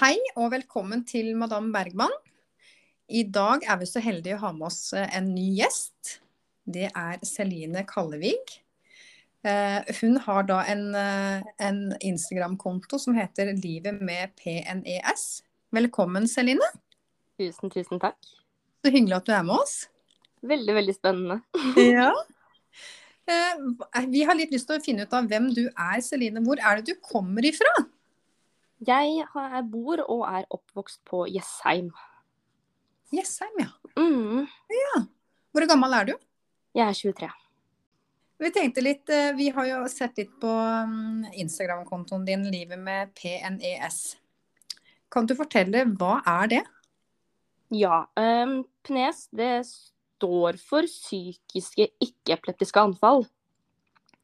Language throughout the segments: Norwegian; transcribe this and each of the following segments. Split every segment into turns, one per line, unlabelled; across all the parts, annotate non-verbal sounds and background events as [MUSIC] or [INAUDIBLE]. Hei og velkommen til Madame Bergman. I dag er vi så heldige å ha med oss eh, en ny gjest. Det er Celine Kallevig. Eh, Hun har da en, eh, en Instagram-konto som heter Livet med PNES. Velkommen, Celine.
Tusen, tusen takk.
Så hyggelig at du er med oss.
Veldig, veldig spennende.
Ja. Eh, Vi har litt lyst til å finne ut av hvem du er, Celine. Hvor er det du kommer ifra?
Jeg har- jeg bor og er oppvokst på Jessheim.
Jessheim, ja.
Mm.
Hvor gammel er du?
Jeg er 23.
Vi tenkte litt, eh, vi har jo sett litt på mm, Instagram-kontoen din, Livet med PNES. Kan du fortelle, hva er det?
Ja. Um, PNES det står for psykiske ikke-epileptiske anfall.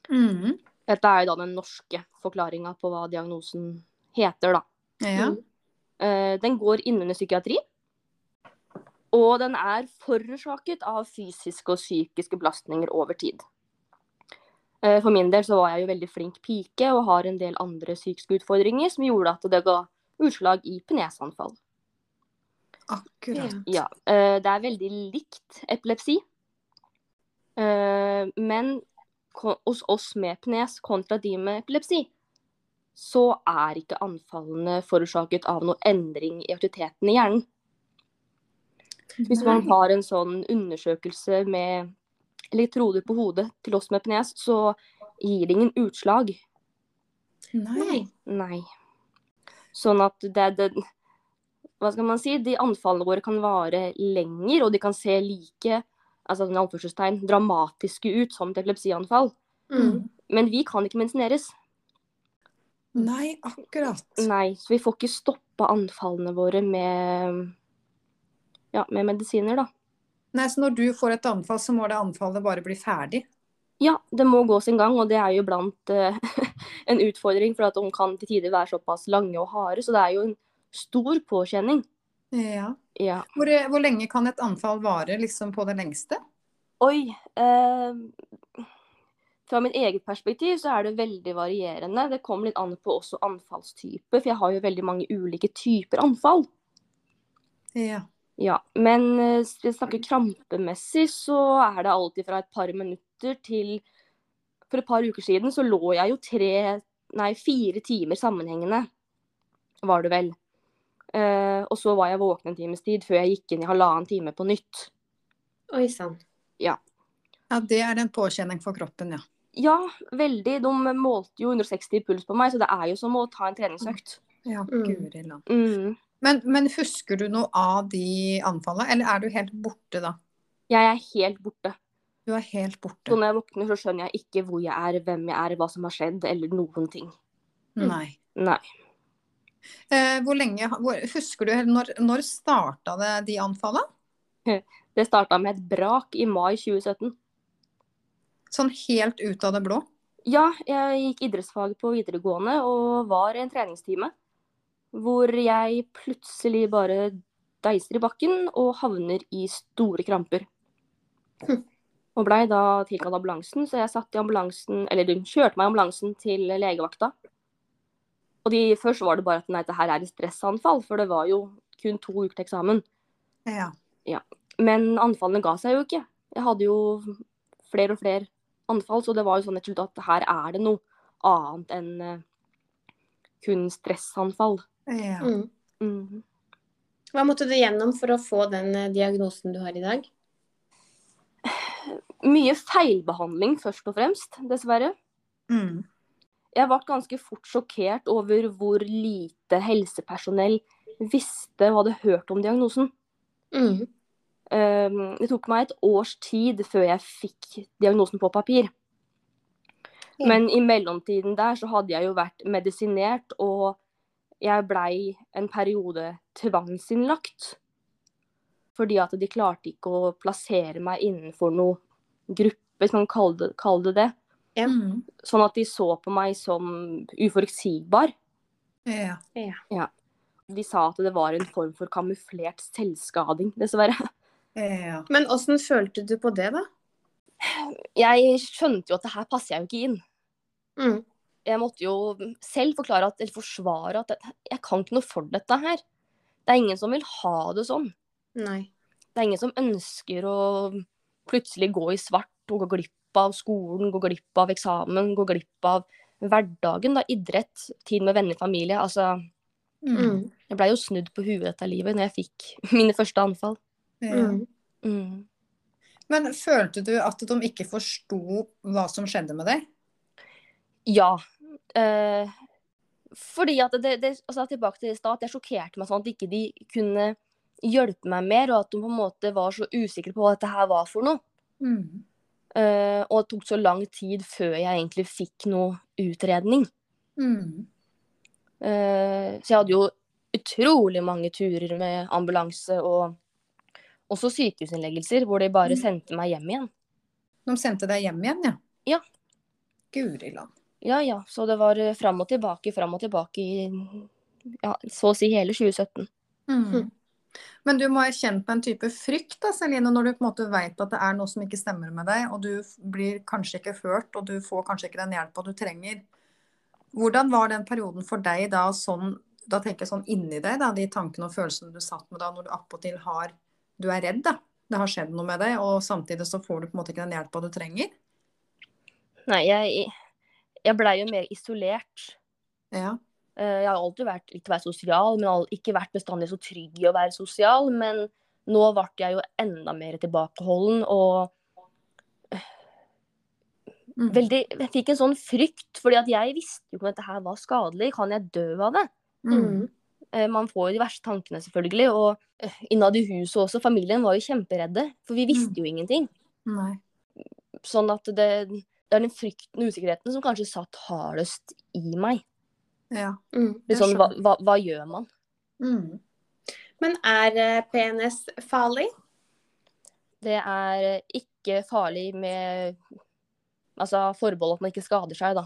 Mm,
Dette er jo da den norske forklaringa på hva diagnosen heter, da.
Ja.
Mm. Eh, Den går innunder psykiatri. Og den er forårsaket av fysiske og psykiske belastninger over tid. Eh, For min del så var jeg jo veldig flink pike og har en del andre psykiske utfordringer som gjorde at det ga utslag i penesanfall.
Akkurat.
Ja, eh, det er veldig likt epilepsi. Eh, Men ko- hos oss med pnes kontra de med epilepsi, så er ikke anfallene forårsaket av noe endring i aktiviteten i hjernen. Hvis man
Nei.
har en sånn undersøkelse med elektroder på hodet til oss med pnes, så gir det ingen utslag.
Nei.
Nei. Sånn at det er den Hva skal man si? De anfallene våre kan vare lenger, og de kan se like altså sånn i anførselstegn, dramatiske ut som et epilepsianfall.
Mm.
Men vi kan ikke medisineres.
Nei, akkurat.
Nei, så vi får ikke stoppa anfallene våre med, ja, med medisiner, da.
Nei, så når du får et anfall, så må det anfallet bare bli ferdig.
Ja, det må gå sin gang, og det er jo blant eh, [LAUGHS] en utfordring, for at de kan til tider være såpass lange og harde, så det er jo en stor påkjenning.
Ja.
Ja.
Hvor, eh, hvor lenge kan et anfall vare liksom på det lengste?
Oi. Eh, fra mitt eget perspektiv så er det veldig varierende. Det kommer litt an på også anfallstype, for jeg har jo veldig mange ulike typer anfall.
Ja.
Ja, Men eh, hvis vi snakker krampemessig, så er det alltid fra et par minutter til For et par uker siden så lå jeg jo tre, nei fire timer sammenhengende, var det vel. Eh, og så var jeg våken en times tid før jeg gikk inn i halvannen time på nytt.
Oi sann.
Ja, det er en påkjenning for kroppen, ja.
Ja, veldig. De målte jo 160 puls på meg, så det er jo som å ta en treningsøkt.
Ja,
Mm.
guri land.
Mm.
Men, men husker du noe av de anfallene, eller er du helt borte da?
Jeg er helt borte.
Du er helt borte.
Så når jeg våkner, så skjønner jeg ikke hvor jeg er, hvem jeg er, hva som har skjedd, eller noen ting.
Nei.
Nei.
Eh, hvor lenge, hvor, husker du, eller når, når starta det de anfallene?
Det starta med et brak i mai 2017.
Sånn helt ut av det blå?
Ja, jeg gikk idrettsfag på videregående og var i en treningstime hvor jeg plutselig bare deiser i bakken og havner i store kramper.
Hm.
Og blei da tilkalt ambulansen, så jeg satt i ambulansen, eller de kjørte meg i ambulansen til legevakta. Og de, først var det bare at nei, det her er et stressanfall, for det var jo kun to uker til eksamen.
Ja.
Men anfallene ga seg jo ikke. Jeg hadde jo flere og flere anfall, så det var jo sånn et slutt at her er det noe annet enn eh, kun stressanfall.
ja.
Mm.
Mm.
Hva måtte du gjennom for å få den eh, diagnosen du har i dag?
Mye feilbehandling først og fremst, dessverre.
Mm.
Jeg ble ganske fort sjokkert over hvor lite helsepersonell visste og hadde hørt om diagnosen.
Mm.
Ehm, Det tok meg et års tid før jeg fikk diagnosen på papir.
Ja.
Men i mellomtiden der så hadde jeg jo vært medisinert, og jeg blei en periode tvangsinnlagt. Fordi at de klarte ikke å plassere meg innenfor noe gruppe, hvis man kaller det- kaller det det.
Mm.
Sånn at de så på meg som uforutsigbar.
Ja.
De sa at det var en form for kamuflert selvskading, dessverre.
Ja.
Men åssen følte du på det, da?
Jeg skjønte jo at det her passer jeg jo ikke inn.
Mm.
jeg måtte jo selv forklare at, eller forsvare at jeg kan ikke noe for dette her. Det er ingen som vil ha det sånn.
Nei.
Det er ingen som ønsker å plutselig gå i svart og gå glipp av skolen, gå glipp av eksamen, gå glipp av hverdagen, da, idrett, tid med venner, familie. Altså,
Mm.
Mm.
jeg blei jo snudd på huet dette livet når jeg fikk [LAUGHS] mine første anfall.
Ja.
Mm.
Mm.
Men følte du at de ikke forsto hva som skjedde med deg?
Ja. Eh, fordi at det, det altså Tilbake til i stad, at jeg sjokkerte meg sånn at ikke de kunne hjelpe meg mer, og at de på en måte var så usikre på hva dette her var for noe.
Mm.
Eh, og det tok så lang tid før jeg egentlig fikk noe utredning.
Mm.
Eh, så jeg hadde jo utrolig mange turer med ambulanse og også sykehusinnleggelser, hvor de bare
Mm.
sendte meg hjem igjen.
De sendte deg hjem igjen, ja?
Ja.
Guri land.
Ja ja, så det var eh, fram og tilbake, fram og tilbake i ja, så å si hele 2017.
Mm. Men du må ha kjent på en type frykt da, Celine, når du på en måte vet at det er noe som ikke stemmer med deg, og du f- blir kanskje ikke hørt, og du får kanskje ikke den hjelpa du trenger. Hvordan var den perioden for deg da, sånn, da tenker jeg sånn inni deg, da, de tankene og følelsene du satt med da, når du attpåtil har Du er redd, da. Det har skjedd noe med deg, og samtidig så får du på en måte ikke den hjelpa du trenger.
Nei, jeg, jeg blei jo mer isolert.
Ja.
Eh, Jeg har alltid vært, likt å være sosial, men al- ikke vært bestandig så trygg i å være sosial. Men nå ble jeg jo enda mer tilbakeholden og
Mm.
veldig, jeg fikk en sånn frykt. fordi at jeg visste jo ikke om dette her var skadelig. Kan jeg dø av det?
Mm.
Mm.
Eh, Man får jo de verste tankene, selvfølgelig. Og eh, innad i huset også. Familien var jo kjemperedde, for vi visste jo ingenting.
Nei.
Sånn at det, det er den frykten og usikkerheten som kanskje satt hardest i meg.
Ja.
Mm.
Jeg
Litt sånn, hva, hva, hva gjør man?
Mm.
Men er eh, PNS farlig?
Det er ikke farlig med Altså forbehold at man ikke skader seg, da.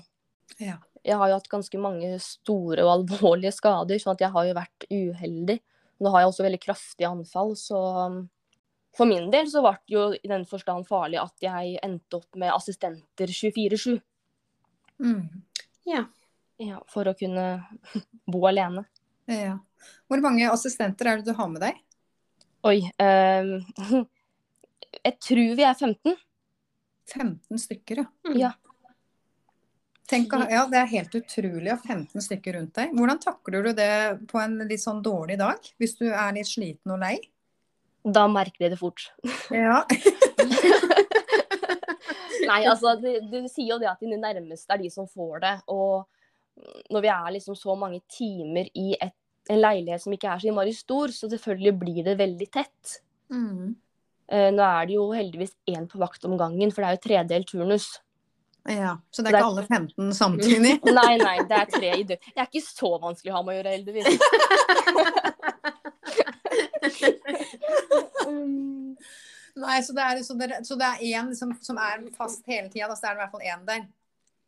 Ja.
Jeg har jo hatt ganske mange store og alvorlige skader, sånn at jeg har jo vært uheldig. Nå har jeg også veldig kraftige anfall, så um, for min del så ble det jo i den forstand farlig at jeg endte opp med assistenter 24-7
Mm.
Ja.
ja, for å kunne [LAUGHS] bo alene.
ja. Hvor mange assistenter er det du har med deg?
Oi. ehm, [LAUGHS] jeg tror vi er 15.
15 stykker, ja.
Mm.
Ja.
Tenk, å- ja, Det er helt utrolig å ha 15 stykker rundt deg. Hvordan takler du det på en litt sånn dårlig dag, hvis du er litt sliten og lei?
Da merker de det fort.
Ja.
[LAUGHS]
Nei, altså, du, du sier jo det at dine nærmeste er de som får det. Og når vi er liksom så mange timer i et, en leilighet som ikke er så innmari stor, så selvfølgelig blir det veldig tett.
Mm.
Eh, nå er det jo heldigvis én på vakt om gangen, for det er jo tredel turnus.
ja. Så det
Det
er Mm. ikke
er-
alle 15 samtidig?
Nei, nei, det er tre i døgnet. Det er ikke så vanskelig å ha med å gjøre, heldigvis.
[LAUGHS] Nei, så det er, så det er, så det er én som, som er fast hele tida, så er det i hvert fall én der.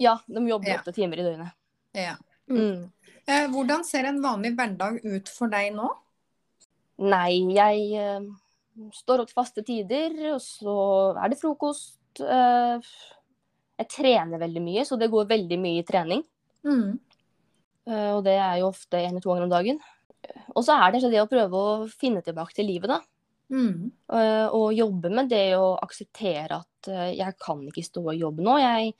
Ja, de jobber
Ja.
åtte timer i døgnet.
Ja.
Mm.
Eh, hvordan ser en vanlig hverdag ut for deg nå?
Nei, jeg eh, står opp til faste tider, og så er det frokost. eh, jeg trener veldig mye, så det går veldig mye i trening.
Mm.
eh, og det er jo ofte én eller to ganger om dagen. Og så er det så det å prøve å finne tilbake til livet, da.
Mm.
eh, og jobbe med det å akseptere at eh, jeg kan ikke stå i jobb nå. Jeg,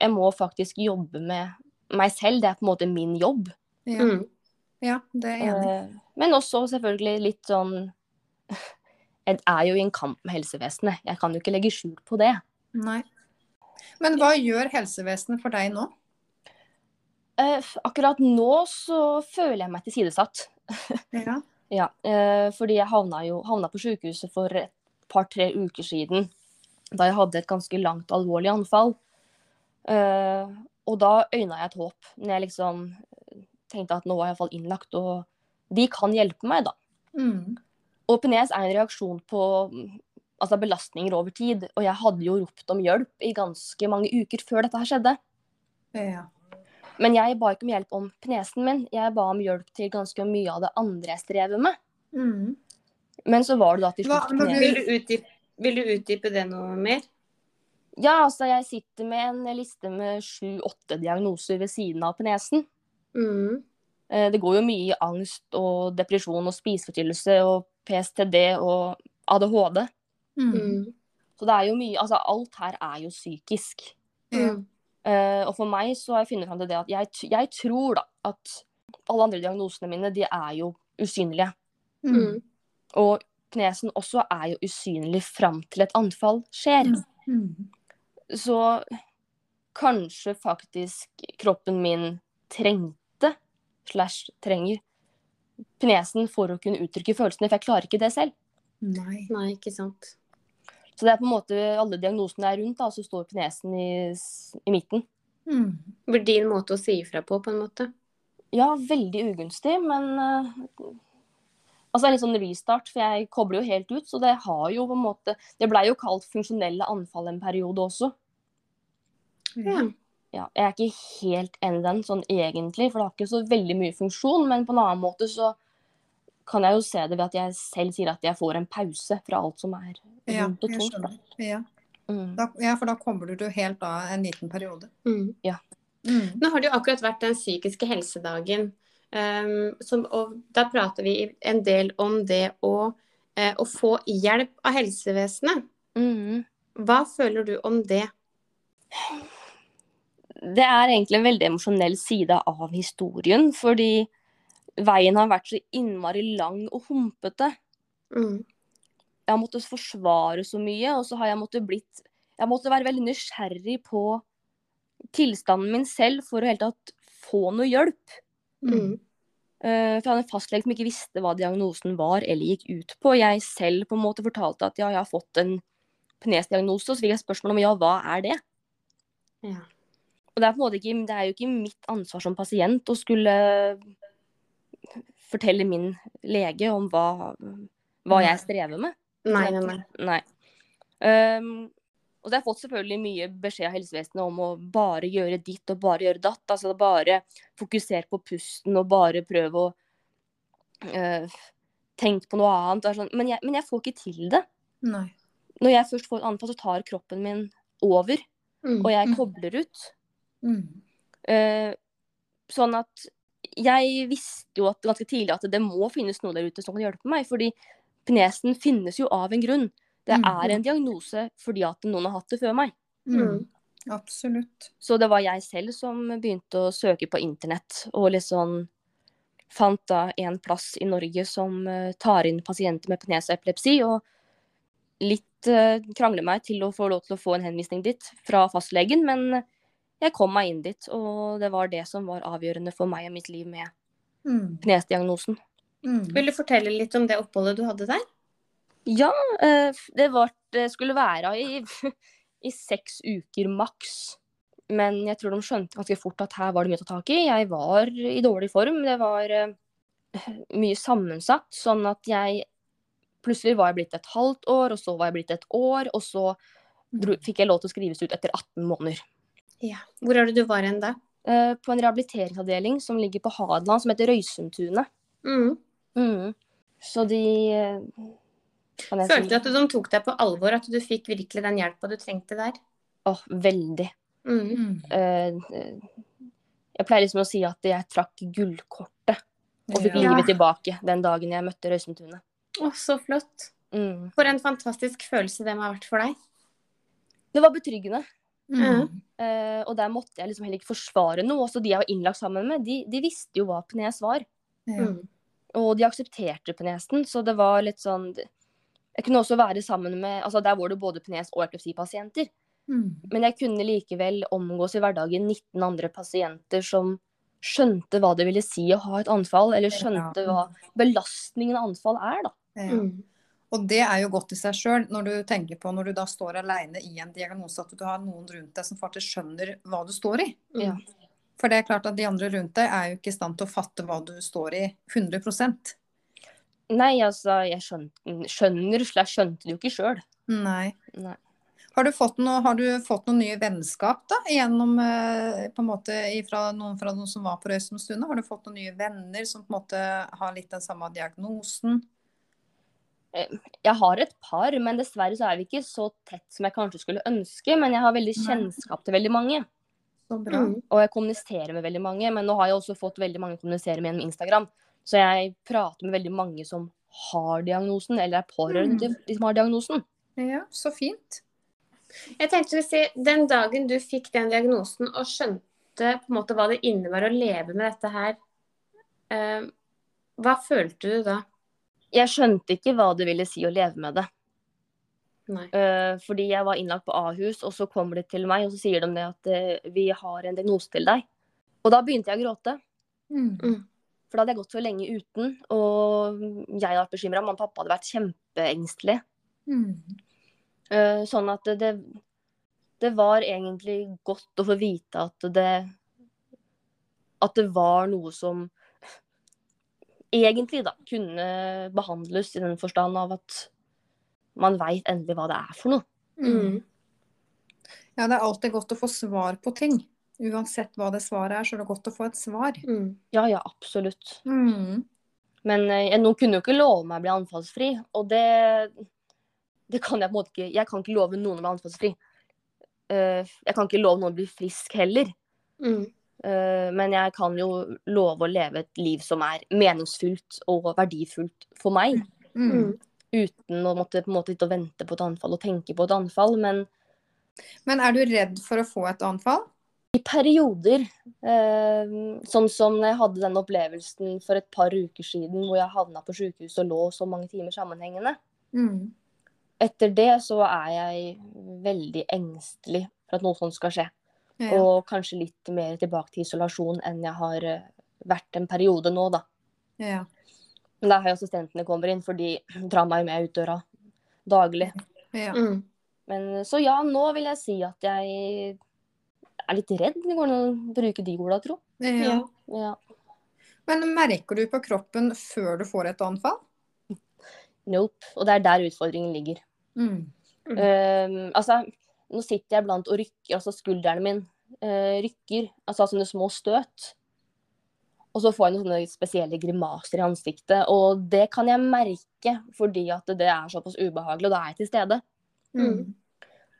jeg må faktisk jobbe med meg selv. Det er på en måte min jobb.
Ja.
Mm.
ja, det er jeg enig. i.
Eh, Men også selvfølgelig litt sånn [LAUGHS] Jeg er jo i en kamp med helsevesenet. Jeg kan jo ikke legge skjul på det.
Nei. Men hva gjør helsevesenet for deg nå?
Eh, f- Akkurat nå så føler jeg meg tilsidesatt.
Ja.
Ja, eh, fordi jeg havna jo havna på sykehuset for et par-tre uker siden. Da jeg hadde et ganske langt, alvorlig anfall. Eh, og da øyna jeg et håp. Når jeg liksom tenkte at nå var jeg iallfall innlagt, og de kan hjelpe meg, da.
Mm.
Og PNS er en reaksjon på mm, altså belastninger over tid. Og jeg hadde jo ropt om hjelp i ganske mange uker før dette her skjedde.
ja.
Men jeg ba ikke om hjelp om penesen min, jeg ba om hjelp til ganske mye av det andre jeg strever med.
Mm.
Men så var det da til
Hva-
slutt
men
pnesen.
Vil du utdype, vil du utdype det noe mer?
Ja, altså jeg sitter med en liste med sju-åtte diagnoser ved siden av penesen.
Mm.
Eh, Det går jo mye i angst og depresjon og spiseforstyrrelse og PSTD og ADHD.
Mm.
Mm.
Så det er jo mye Altså alt her er jo psykisk.
Ja.
Mm.
Eh, og for meg så har jeg funnet fram til det at jeg, t- jeg tror da at alle andre diagnosene mine, de er jo usynlige.
Mm.
Mm.
Og knesen også er jo usynlig fram til et anfall skjer.
Mm. Mm.
Så kanskje faktisk kroppen min trengte, slash trenger, knesen for å kunne uttrykke følelsene, for jeg klarer ikke det selv.
Nei.
Nei, ikke sant.
Så det er på en måte alle diagnosene er rundt, da, og så står knesen i, s- i midten.
Mm.
Det blir din måte å si ifra på, på en måte.
Ja, veldig ugunstig, men eh, Altså, det er litt sånn restart, for jeg kobler jo helt ut, så det har jo på en måte Det blei jo kalt funksjonelle anfall en periode også.
Ja.
Ja, jeg er ikke helt enig i den sånn egentlig, for det har ikke så veldig mye funksjon. Men på en annen måte så kan jeg jo se det ved at jeg selv sier at jeg får en pause fra alt som er
Ja,
rundt og
jeg
tungt.
skjønner.
da.
Ja.
Mm.
Da, ja, for da kommer du helt av en liten periode.
Mm.
Mm.
Nå har det jo akkurat vært den psykiske helsedagen. ehm, som, og der prater vi en del om det å, eh, å få hjelp av helsevesenet.
Mm.
Hva føler du om det?
Det er egentlig en veldig emosjonell side av historien, fordi veien har vært så innmari lang og humpete.
Mm.
jeg har måttet forsvare så mye, og så har jeg måttet blitt Jeg måtte være veldig nysgjerrig på tilstanden min selv for å i hele tatt få noe hjelp.
Mm.
Eh, For jeg hadde en fastlege som ikke visste hva diagnosen var eller gikk ut på. Jeg selv på en måte fortalte at ja, jeg har fått en penesdiagnose, og så fikk jeg spørsmål om ja, hva er det?
Ja.
Og det er, på en måte ikke, det er jo ikke mitt ansvar som pasient å skulle fortelle min lege om hva, hva jeg strever med.
Nei, nei, nei.
Nei. Ehm, og det har jeg fått selvfølgelig mye beskjed av helsevesenet om å bare gjøre ditt og bare gjøre datt. Altså bare fokusere på pusten og bare prøve å eh, tenke på noe annet. Det er Sånn. Men, jeg, men jeg får ikke til det.
Nei.
Når jeg først får et anfall, så tar kroppen min over,
Mm.
og jeg
Mm.
kobler ut.
Mm.
Eh, sånn at jeg visste jo at, ganske tidlig at det må finnes noe der ute som kan hjelpe meg. Fordi penesen finnes jo av en grunn. Det
Mm.
er en diagnose fordi at noen har hatt det før meg.
Mm. Absolutt.
Så det var jeg selv som begynte å søke på internett. Og liksom fant da en plass i Norge som eh, tar inn pasienter med penese og epilepsi. Og litt eh, krangler meg til å få lov til å få en henvisning dit fra fastlegen. Men jeg kom meg inn dit, og det var det som var avgjørende for meg og mitt liv med
Mm.
penesdiagnosen.
Mm.
Vil du fortelle litt om det oppholdet du hadde der?
Ja, eh, det var, det skulle være i, [LAUGHS] i seks uker maks. Men jeg tror de skjønte ganske fort at her var det mye å ta tak i. Jeg var i dårlig form. Det var eh, [LAUGHS] mye sammensatt, sånn at jeg Plutselig var jeg blitt et halvt år, og så var jeg blitt et år, og så dro,
Mm.
fikk jeg lov til å skrives ut etter 18 måneder.
Ja. Hvor er det du var hen da?
Eh, på en rehabiliteringsavdeling som ligger på Hadeland, som heter Røysundtunet.
Mm.
Så de eh, kan jeg si-
Følte du at de tok deg på alvor, at du fikk virkelig den hjelpa du trengte der?
Åh, veldig.
Mm.
Mm.
Eh, jeg pleier liksom å si at jeg trakk gullkortet og fikk
Ja.
livet tilbake den dagen jeg møtte Røysundtunet.
Å, så flott.
Mm.
For en fantastisk følelse det må ha vært for deg.
Det var betryggende,
Mm.
eh, og der måtte jeg liksom heller ikke forsvare noe. Også de jeg var innlagt sammen med, de, de visste jo hva penes var,
Ja.
Mm.
og de aksepterte penesen, så det var litt sånn jeg kunne også være sammen med altså Der var det både penes- og epilepsipasienter.
Mm.
Men jeg kunne likevel omgås i hverdagen 19 andre pasienter som skjønte hva det ville si å ha et anfall, eller skjønte hva belastningen av anfall er, da.
Ja.
Mm.
Og det er jo godt i seg sjøl, når du tenker på når du da står aleine i en diagnose, at du har noen rundt deg som faktisk skjønner hva du står i.
Ja.
For det er klart at de andre rundt deg er jo ikke i stand til å fatte hva du står i 100
Nei, altså, jeg skjønte, skjønner slash skjønte det jo ikke sjøl.
Nei.
Nei.
Har du fått, noe, har du fått noen nye vennskap da, gjennom eh, på en måte ifra noen fra noen som var på Røysundstunet? Har du fått noen nye venner som på en måte har litt den samme diagnosen?
eh, Jeg har et par, men dessverre så er vi ikke så tett som jeg kanskje skulle ønske. Men jeg har veldig
Nei.
kjennskap til veldig mange,
Så bra.
Mm.
og jeg kommuniserer med veldig mange. Men nå har jeg også fått veldig mange å kommunisere med gjennom Instagram, så jeg prater med veldig mange som har diagnosen, eller er pårørende
Mm.
til de som har diagnosen.
Ja, så fint.
Jeg tenkte å si, Den dagen du fikk den diagnosen og skjønte på en måte hva det innebar å leve med dette her, eh, hva følte du da?
Jeg skjønte ikke hva det ville si å leve med det.
Nei.
Eh, fordi jeg var innlagt på Ahus, og så kommer de til meg og så sier de det at eh, vi har en diagnose til deg. Og da begynte jeg å gråte,
Mm.
for da hadde jeg gått så lenge uten. Og jeg hadde vært bekymra, mamma og pappa hadde vært kjempeengstelig.
Mm.
Eh, sånn at det, det, det var egentlig godt å få vite at det At det var noe som egentlig da kunne behandles i den forstand av at man veit endelig hva det er for noe.
Mm. Ja, det er alltid godt å få svar på ting. Uansett hva det svaret er, så er det godt å få et svar.
Mm.
Ja, ja, absolutt.
Mm.
Men eh, noen kunne jo ikke love meg å bli anfallsfri, og det Det kan jeg på en måte ikke Jeg kan ikke love noen å bli anfallsfri. Eh, jeg kan ikke love noen å bli frisk heller,
Mm.
eh, men jeg kan jo love å leve et liv som er meningsfullt og verdifullt for meg,
Mm.
Mm.
uten å måtte på en måte sitte og vente på et anfall og tenke på et anfall. Men
Men er du redd for å få et anfall?
i perioder, eh, sånn som når jeg hadde den opplevelsen for et par uker siden hvor jeg havna på sjukehus og lå så mange timer sammenhengende,
Mm.
etter det så er jeg veldig engstelig for at noe sånt skal skje.
Ja.
Og kanskje litt mer tilbake til isolasjon enn jeg har eh, vært en periode nå, da.
ja.
Men da har jo assistentene kommer inn, for de drar meg jo med ut døra daglig.
ja.
Mm.
Men så ja, nå vil jeg si at jeg er litt redd. Det går an å bruke de orda, tro.
ja.
Ja.
Men merker du på kroppen før du får et anfall?
Nope. Og det er der utfordringen ligger.
Mm.
Ehm, altså, nå sitter jeg blant og rykker, altså skulderen min eh, rykker, altså sånne små støt. Og så får jeg noen sånne spesielle grimaser i ansiktet, og det kan jeg merke fordi at det er såpass ubehagelig, og da er jeg til stede.
Mm.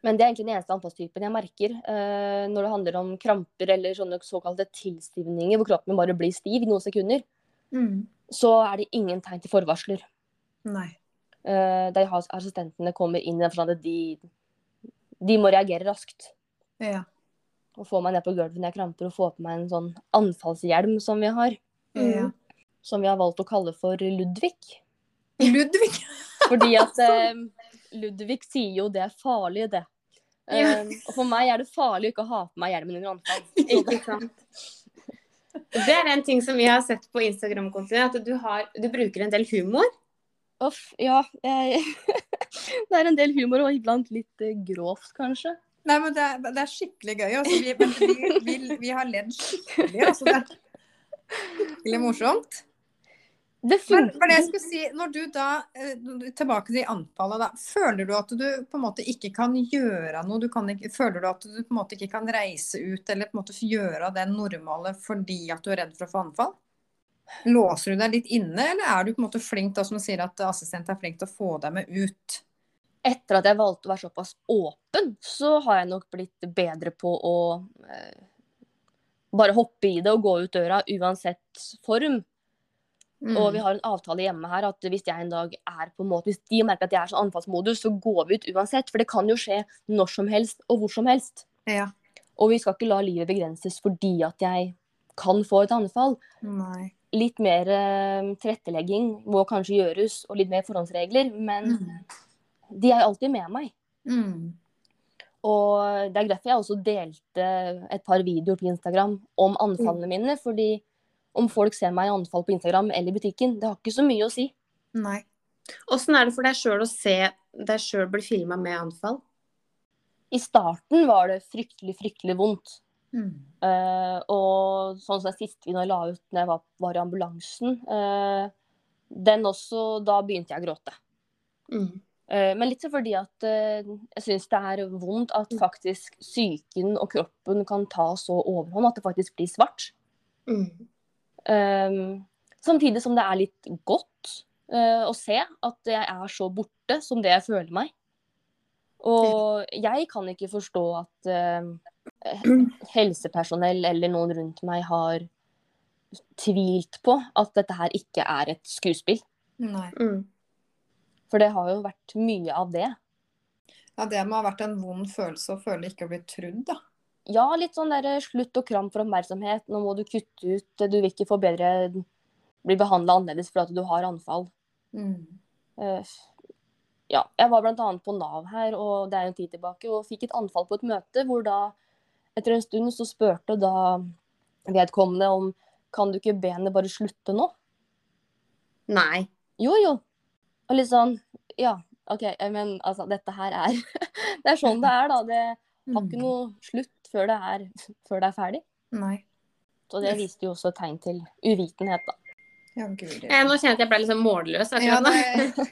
Men det er egentlig den eneste anfallstypen jeg merker eh, når det handler om kramper eller sånne såkalte tilstivninger, hvor kroppen bare blir stiv i noen sekunder,
Mm.
så er det ingen tegn til forvarsler.
Nei.
Eh, de har- assistentene kommer inn i den forstand at de, de må reagere raskt.
Ja.
og få meg ned på gulvet når jeg kramper, og få på meg en sånn anfallshjelm som vi har.
ja.
Mm.
Som vi har valgt å kalle for Ludvig.
[LAUGHS] Ludvig!
Fordi at eh, Ludvig sier jo det er farlig, det. Eh, og for meg er det farlig å ikke ha på meg hjelmen under anfall.
Ikke sant. Det er en ting som vi har sett på Instagram-kontoen, at du, har, du bruker en del humor.
Uff, ja. Jeg... [LAUGHS] det er en del humor, og iblant litt eh, grovt, kanskje.
Nei, men det er, det er skikkelig gøy. Altså, vi, men vi, vi, vi har ledd skikkelig. Altså, det er skikkelig morsomt.
Det
Men
funker.
for det jeg skulle si, når du da, eh, tilbake til anfallet da, føler du at du på en måte ikke kan gjøre noe? Du kan ikke, føler du at du på en måte ikke kan reise ut eller på en måte gjøre det normale fordi at du er redd for å få anfall? Låser du deg litt inne, eller er du på en måte flink da, som du sier at assistent er flink til å få deg med ut?
etter at jeg valgte å være såpass åpen, så har jeg nok blitt bedre på å eh, bare hoppe i det og gå ut døra uansett form.
Mm.
Og vi har en avtale hjemme her at hvis jeg en dag er på en måte, hvis de merker at jeg er sånn anfallsmodus, så går vi ut uansett. For det kan jo skje når som helst og hvor som helst.
Ja.
Og vi skal ikke la livet begrenses fordi at jeg kan få et anfall.
Nei.
Litt mer eh, tilrettelegging må kanskje gjøres, og litt mer forhåndsregler. Men
Mm.
de er jo alltid med meg.
Mm.
Og det er derfor jeg også delte et par videoer på Instagram om anfallene mine. Fordi om folk ser meg i anfall på Instagram eller i butikken, det har ikke så mye å si.
Nei.
Åssen er det for deg sjøl å se deg sjøl bli filma med anfall?
I starten var det fryktelig, fryktelig vondt.
Mm.
Eh, og sånn som den siste videoen jeg la ut når jeg var, var i ambulansen, eh, den også Da begynte jeg å gråte.
Mm.
Eh, men litt så fordi at eh, jeg syns det er vondt at faktisk psyken og kroppen kan ta så overhånd at det faktisk blir svart. Ehm,
Mm.
Um, samtidig som det er litt godt. eh, å se at jeg er så borte som det jeg føler meg. Og jeg kan ikke forstå at eh, [CLEARS THROAT] helsepersonell eller noen rundt meg har tvilt på at dette her ikke er et skuespill.
Nei.
Mm.
For det har jo vært mye av det.
Ja, det må ha vært en vond følelse å føle ikke å bli trudd, da.
Ja, litt sånn der slutt og kram for oppmerksomhet. Nå må du kutte ut. eh, Du vil ikke få bedre Bli behandla annerledes fordi at du har anfall.
Mm.
Eh, ja, jeg var bl.a. på Nav her og det er en tid tilbake, og fikk et anfall på et møte hvor da etter en stund så spurte da vedkommende om kan du ikke be henne bare slutte nå?
Nei.
Jo, jo. Og litt sånn ja, OK, eh, men altså dette her er [LAUGHS] Det er sånn det er, da. Det har
Mm.
ikke noe slutt før det er, før det er ferdig.
Nei.
Så det viste jo også tegn til uvitenhet, da.
Ja, guri.
Eh, nå kjenner jeg at jeg ble liksom målløs
Ja,
akkurat nå.
det,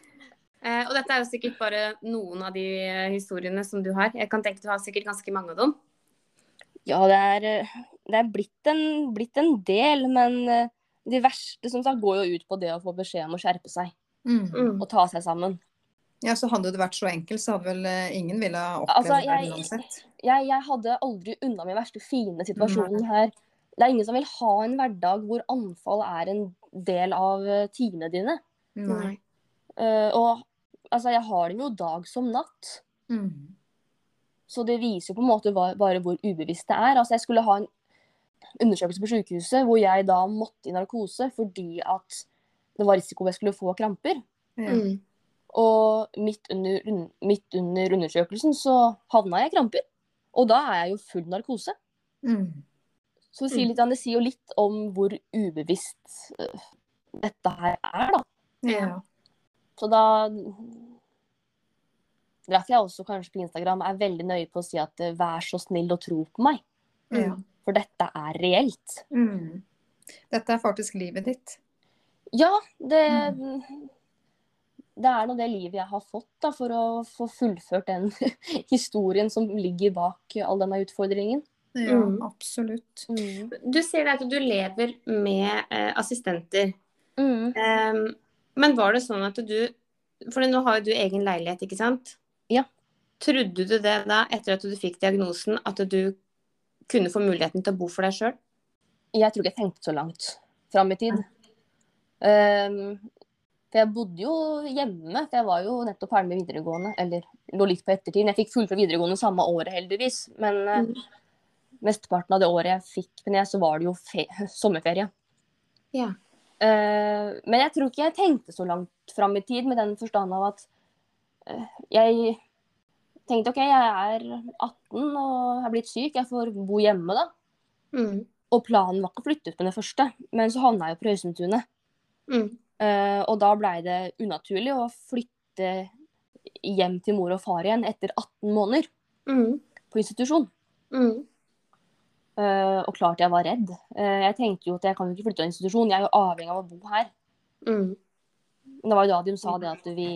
Eh, og dette er jo sikkert bare noen av de eh, historiene som du har. Jeg kan tenke Du har sikkert ganske mange av dem.
Ja, det er, eh, det er blitt, en, blitt en del, men eh, det verste som sagt går jo ut på det å få beskjed om å skjerpe seg
[LAUGHS] mm.
Mm.
og ta seg sammen.
ja, så hadde det vært så enkelt, så hadde vel eh, ingen ville ha opplevd
Altså,
det
jeg,
uansett.
jeg, jeg hadde aldri unna min verste fiende situasjonen her. Det er ingen som vil ha en hverdag hvor anfall er en del av eh, timene dine.
Nei.
Eh, og altså, jeg har dem jo dag som natt.
Mm.
Så det viser jo på en måte hva, bare hvor ubevisst det er. Altså, jeg skulle ha en undersøkelse på sykehuset hvor jeg da måtte i narkose fordi at det var risiko jeg skulle få kramper.
Ja.
Mm.
Og midt under, un- midt under undersøkelsen så havna jeg i kramper. Og da er jeg jo full narkose.
Mm.
Så det sier, litt, det sier jo litt om hvor ubevisst øh, dette her er, da.
Ja.
Så da Derfor jeg også kanskje på Instagram er veldig nøye på å si at øh, vær så snill og tro på meg.
Ja.
For dette er reelt.
Mm. Dette er faktisk livet ditt.
Ja, det Det er nå det livet jeg har fått, da, for å få fullført den [LAUGHS] historien som ligger bak all denne utfordringen.
Ja,
Mm.
absolutt.
Du sier at du lever med eh, assistenter.
Mm.
Ehm, men var det sånn at du For nå har jo du egen leilighet, ikke sant?
Ja.
Trodde du det da, etter at du fikk diagnosen, at du kunne få muligheten til å bo for deg sjøl?
Jeg tror ikke jeg tenkte så langt fram i tid. Ehm, for jeg bodde jo hjemme, for jeg var jo nettopp ferdig med videregående. Eller lå litt på ettertid. Jeg fikk fullført videregående samme året, heldigvis. Men eh,
Mm.
mesteparten av det året jeg fikk med det, så var det jo fe [LAUGHS] sommerferie.
Ja.
Eh, men jeg tror ikke jeg tenkte så langt fram i tid, med den forstand av at eh, jeg tenkte OK, jeg er 18 og er blitt syk, jeg får bo hjemme da.
Mm.
Og planen var ikke å flytte ut med det første, men så havna jeg jo på Røysentunet.
Mm.
Eh, og da blei det unaturlig å flytte hjem til mor og far igjen etter 18 måneder
Mm.
på institusjon.
Mm.
Eh, og klart jeg var redd. Eh, jeg tenkte jo at jeg kan jo ikke flytte av institusjon, jeg er jo avhengig av å bo her.
Mm.
Men det var jo da de sa det at vi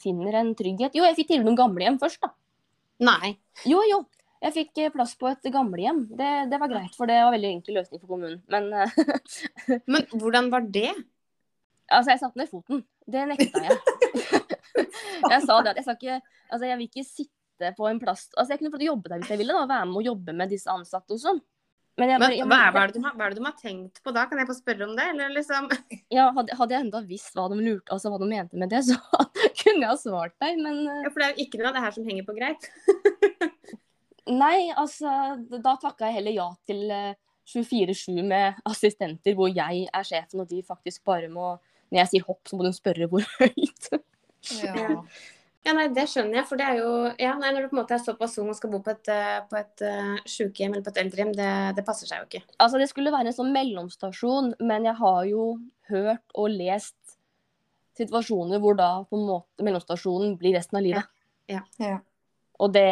finner en trygghet. Jo, jeg fikk tilbud om gamlehjem først, da.
Nei.
Jo, jo. Jeg fikk eh, plass på et gamlehjem. Det, det var greit, for det var veldig enkel løsning for kommunen. Men eh,
Men hvordan var det?
altså, jeg satte ned foten. Det nekta jeg.
[LAUGHS]
jeg sa det at jeg skal ikke Altså, jeg vil ikke sitte på en plass Altså, jeg kunne fått jobbe der hvis jeg ville, da. Være med og jobbe med disse ansatte og sånn. Men, jeg,
Hva,
jeg-
hva, er, hva, er det de har, hva er det de har tenkt på da? Kan jeg få spørre om det? Eller liksom
ja, hadde, hadde jeg enda visst hva de lurte, altså hva de mente med det, [LAUGHS] så kunne jeg ha svart deg, men eh,
Ja, For det er jo ikke noe av det her som henger på greit.
Nei, altså da takka jeg heller ja til eh, 24-7 med assistenter hvor jeg er sjefen, og de faktisk bare må Når jeg sier hopp, så må de spørre hvor [LAUGHS] høyt.
Ja.
Ja, nei, Det skjønner jeg. for det er jo, ja, nei, Når du på en måte er såpass ung og skal bo på et, eh, på et eh, sykehjem eller på et eldrehjem, det, det passer seg jo ikke.
Altså det skulle være en sånn mellomstasjon, men jeg har jo hørt og lest situasjoner hvor da på en måte mellomstasjonen blir resten av livet.
Ja,
ja. Ja.
Og det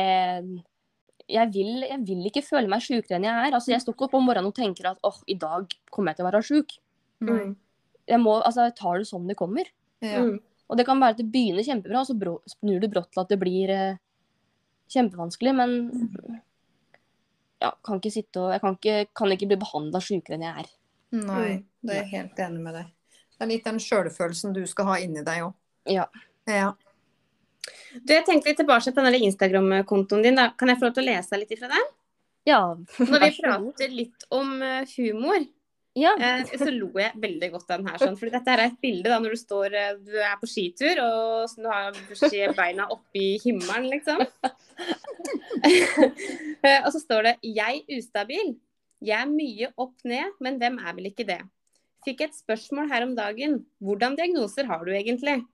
jeg vil, jeg vil ikke føle meg sjukere enn jeg er. Altså, jeg står ikke opp om morgenen og tenker at åh, i dag kommer jeg til å være sjuk.
Nei.
Jeg, må, altså, jeg tar det som det kommer.
Ja.
Mm.
Og det kan være at det begynner kjempebra, og så brå- snur det brått til at det blir eh, kjempevanskelig. Men
Mm.
ja, kan ikke sitte og, jeg kan ikke, kan ikke bli behandla sjukere enn jeg er.
Nei,
Mm.
det er jeg helt enig med deg. Det er litt den sjølfølelsen du skal ha inni deg òg.
Ja.
Ja.
Du, jeg tenkte litt tilbake til denne Instagram-kontoen din. Da. Kan jeg få lov til å lese litt ifra
[LAUGHS]
den?
Ja,
Når vi
Vær så god.
prater litt om eh, humor,
ja.
eh, så lo jeg veldig godt av den her. Sånn. For dette her er et bilde da, når du, står, eh, du er på skitur og så du har skje- beina oppi himmelen, liksom. [LAUGHS] Eh, og så står det 'Jeg ustabil'. Jeg er mye opp ned, men hvem er vel ikke det? Fikk et spørsmål her om dagen. Hvordan diagnoser har du egentlig?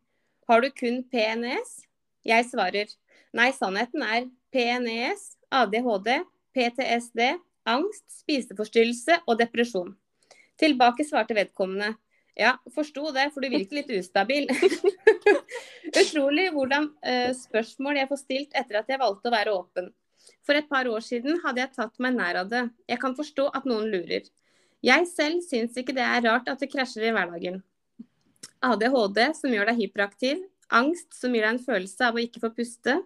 Har du kun PNES? Jeg svarer. Nei, sannheten er E PNES, ADHD, PTSD, angst, spiseforstyrrelse og depresjon. Tilbake svarte vedkommende. Ja, forsto det, for du virker litt ustabil. [LAUGHS] Utrolig hvordan eh, spørsmål jeg får stilt etter at jeg valgte å være åpen. For et par år siden hadde jeg tatt meg nær av det. Jeg kan forstå at noen lurer. Jeg selv syns ikke det er rart at det krasjer i hverdagen. ADHD som gjør deg hyperaktiv, angst som gir deg en følelse av å ikke få puste,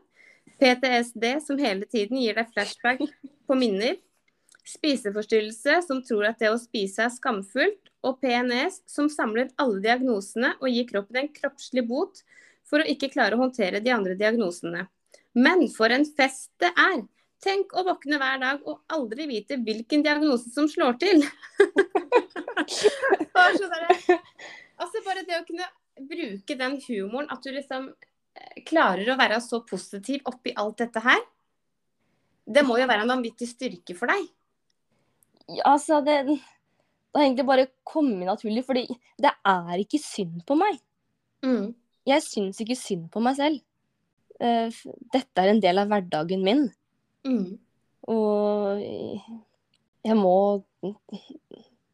PTSD som hele tiden gir deg flashback på minner, spiseforstyrrelse som tror at det å spise er skamfullt, og PNS som samler alle diagnosene og gir kroppen en kroppslig bot for å ikke klare å håndtere de andre diagnosene. Men for en fest det er! Tenk å våkne hver dag og aldri vite hvilken diagnose som slår til. [LAUGHS] bare så der, altså bare det å kunne bruke den humoren, at du liksom eh, klarer å være så positiv oppi alt dette her. Det må jo være en vanvittig styrke for deg.
Ja, altså det, det har egentlig bare kommet naturlig, fordi det er ikke synd på meg.
Mm,
Jeg syns ikke synd på meg selv. Eh, f- Dette er en del av hverdagen min,
mm,
og jeg må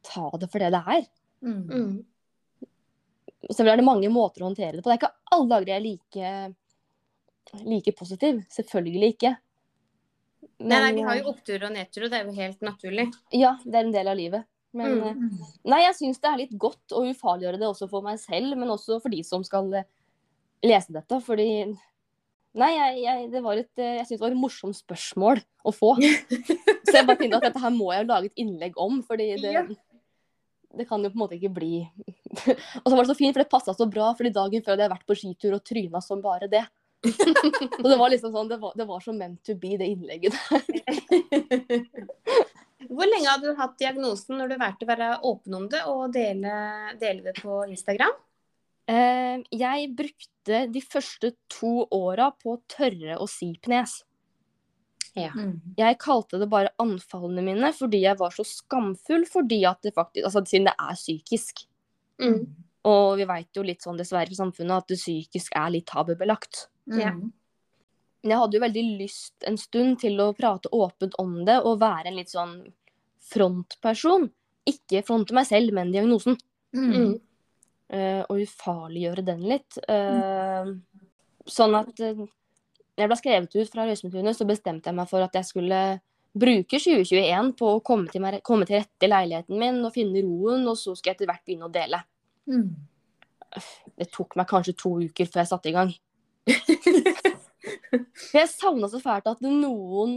ta det for det det er.
Mm.
Selvfølgelig er det mange måter å håndtere det på. Det er ikke alle dager jeg er like, like positiv. Selvfølgelig ikke. eh,
Nei, nei, vi har jo opptur og nedtur, og det er jo helt naturlig.
Ja, det er en del av livet. Men
Mm.
eh, Nei, jeg syns det er litt godt å ufarliggjøre det også for meg selv, men også for de som skal eh, lese dette. Fordi Nei, jeg, jeg, det var et, eh, jeg syns det var et morsomt spørsmål å få. Så jeg bare tenkte at dette her må jeg jo lage et innlegg om, fordi det
Ja.
Det kan jo på en måte ikke bli [LAUGHS] Og så var det så fint, for det passa så bra, fordi dagen før hadde jeg vært på skitur og tryna som bare det. [LAUGHS] Så det var liksom sånn, det var, det var så meant to be, det innlegget.
Hvor lenge hadde du hatt diagnosen når du valgte å være åpen om det og dele, dele det på Instagram?
Eh, jeg brukte de første to åra på å tørre å si pnes.
Mm.
Jeg kalte det bare anfallene mine fordi jeg var så skamfull fordi at det faktisk Altså siden det er psykisk.
Mm.
Og vi veit jo litt sånn dessverre i samfunnet at det psykisk er litt tabubelagt.
Ja.
Mm.
Men jeg hadde jo veldig lyst en stund til å prate åpent om det og være en litt sånn frontperson. Ikke fronte meg selv, men diagnosen.
Mm.
eh, og ufarliggjøre den litt. Eh, Sånn at eh, jeg ble skrevet ut fra Røysemundtunet, så bestemte jeg meg for at jeg skulle bruke 2021 på å komme til, meg, komme til rette i leiligheten min og finne roen, og så skal jeg etter hvert begynne å dele.
Mm.
Det tok meg kanskje to uker før jeg satte i gang. For jeg savna så fælt at noen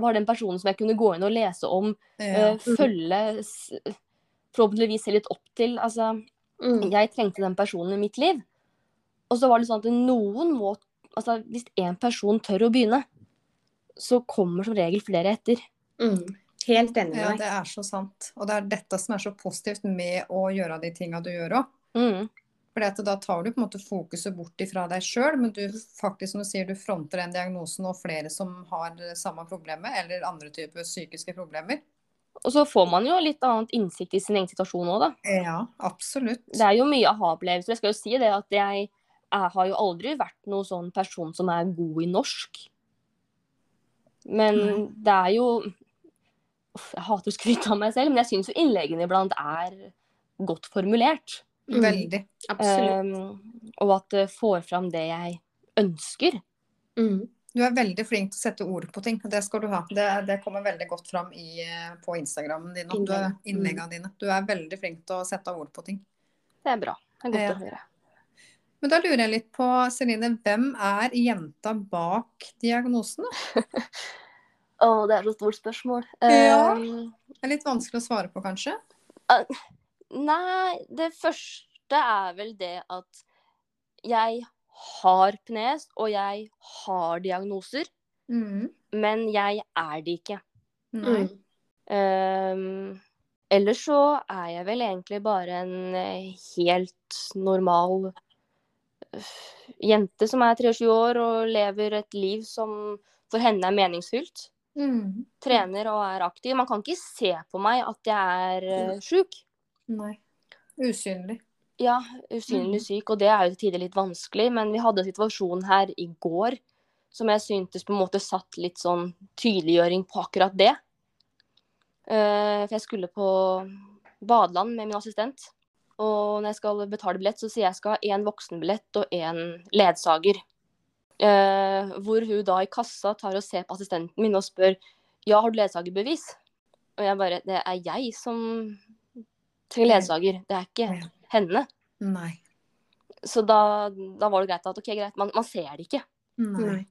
var den personen som jeg kunne gå inn og lese om, eh,
Ja.
følge, s- forhåpentligvis se litt opp til. Altså,
Mm.
jeg trengte den personen i mitt liv. Og så var det sånn at noen må Altså, hvis én person tør å begynne, så kommer som regel flere etter.
Mm. Helt enig
ja,
med deg.
det er så sant. Og det er dette som er så positivt med å gjøre de tinga du gjør òg.
Mm.
Fordi at da tar du på en måte fokuset bort ifra deg sjøl, men du faktisk, som du sier, du fronter den diagnosen og flere som har det samme problemet, eller andre typer psykiske problemer.
Og så får man jo litt annet innsikt i sin egen situasjon òg, da.
Ja, absolutt.
Det er jo mye aha-opplevelser. Jeg skal jo si det at jeg, jeg har jo aldri vært noen sånn person som er god i norsk. Men
Nei.
det er jo Uff, Jeg hater å skryte av meg selv, men jeg syns jo innleggene iblant er godt formulert.
Mm.
Veldig.
Absolutt.
Um, og at det får fram det jeg ønsker.
Mm.
Du er veldig flink til å sette ord på ting. og Det skal du ha. Det, det kommer veldig godt fram i, eh, på Instagrammen din og
Innlegg.
innleggene Mm. dine. Du er veldig flink til å sette ord på ting.
Det er bra. Det er godt
Ja.
å høre.
Men da lurer jeg litt på, Celine, hvem er jenta bak diagnosen? da?
Å, det er så stort spørsmål.
Ja.
Um,
Det er litt vanskelig å svare på, kanskje?
nei, det første verste er vel det at jeg har pnes, og jeg har diagnoser,
Mm.
men jeg er det ikke.
Nei.
Mm.
Ehm, ellers så er jeg vel egentlig bare en eh, helt normal øh, jente som er 23 år og lever et liv som for henne er meningsfylt.
Mm.
Trener og er aktiv. Man kan ikke se på meg at jeg er eh, sjuk.
Nei. Usynlig.
Ja, usynlig syk, og det er jo til tider litt vanskelig, men vi hadde en situasjon her i går som jeg syntes på en måte satt litt sånn tydeliggjøring på akkurat det. Eh, for jeg skulle på badeland med min assistent, og når jeg skal betale billett, så sier jeg jeg skal ha én voksenbillett og én ledsager. Eh, hvor hun da i kassa tar og ser på assistenten min og spør ja, har du ledsagerbevis. Og jeg bare det er jeg som trenger ledsager, det er ikke henne.
Nei.
Så da, da var det greit at ok, greit, man, man ser det ikke.
Nei.
Nei.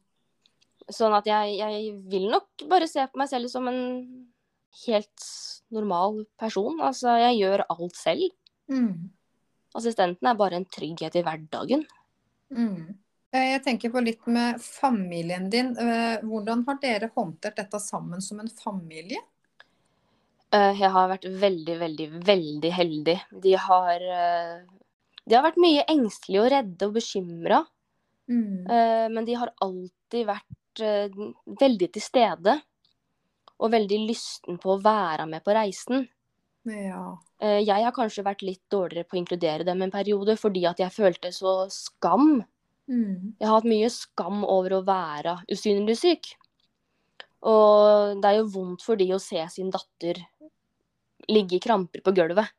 Sånn at jeg, jeg vil nok bare se på meg selv som en helt normal person. Altså, jeg gjør alt selv.
Mm.
Assistenten er bare en trygghet i hverdagen.
Mm. Eh, Jeg tenker på litt med familien din. Eh, Hvordan har dere håndtert dette sammen som en familie?
Eh, Jeg har vært veldig, veldig, veldig heldig. De har, eh, de har vært mye engstelige og redde og bekymra.
Mm.
Eh, men de har alltid vært eh, veldig til stede. Og veldig lysten på å være med på reisen.
Ja.
Eh, Jeg har kanskje vært litt dårligere på å inkludere dem en periode, fordi at jeg følte så skam.
Mm.
Jeg har hatt mye skam over å være usynlig syk. Og det er jo vondt for de å se sin datter ligge i kramper på gulvet,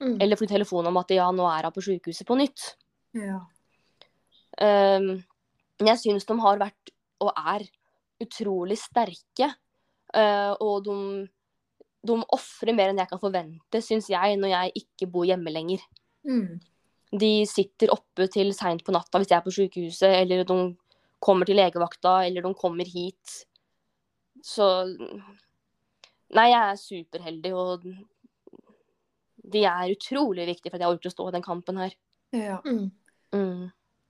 Mm.
eller få telefon om at ja, nå er hun på sykehuset på nytt.
Ja.
Um, jeg syns de har vært, og er, utrolig sterke. Uh, og de, de ofrer mer enn jeg kan forvente, syns jeg, når jeg ikke bor hjemme lenger.
Mm.
De sitter oppe til seint på natta hvis jeg er på sykehuset, eller de kommer til legevakta, eller de kommer hit. Så Nei, jeg er superheldig, og de er utrolig viktige for at jeg orker å stå i den kampen her.
Ja.
Mm.
Mm.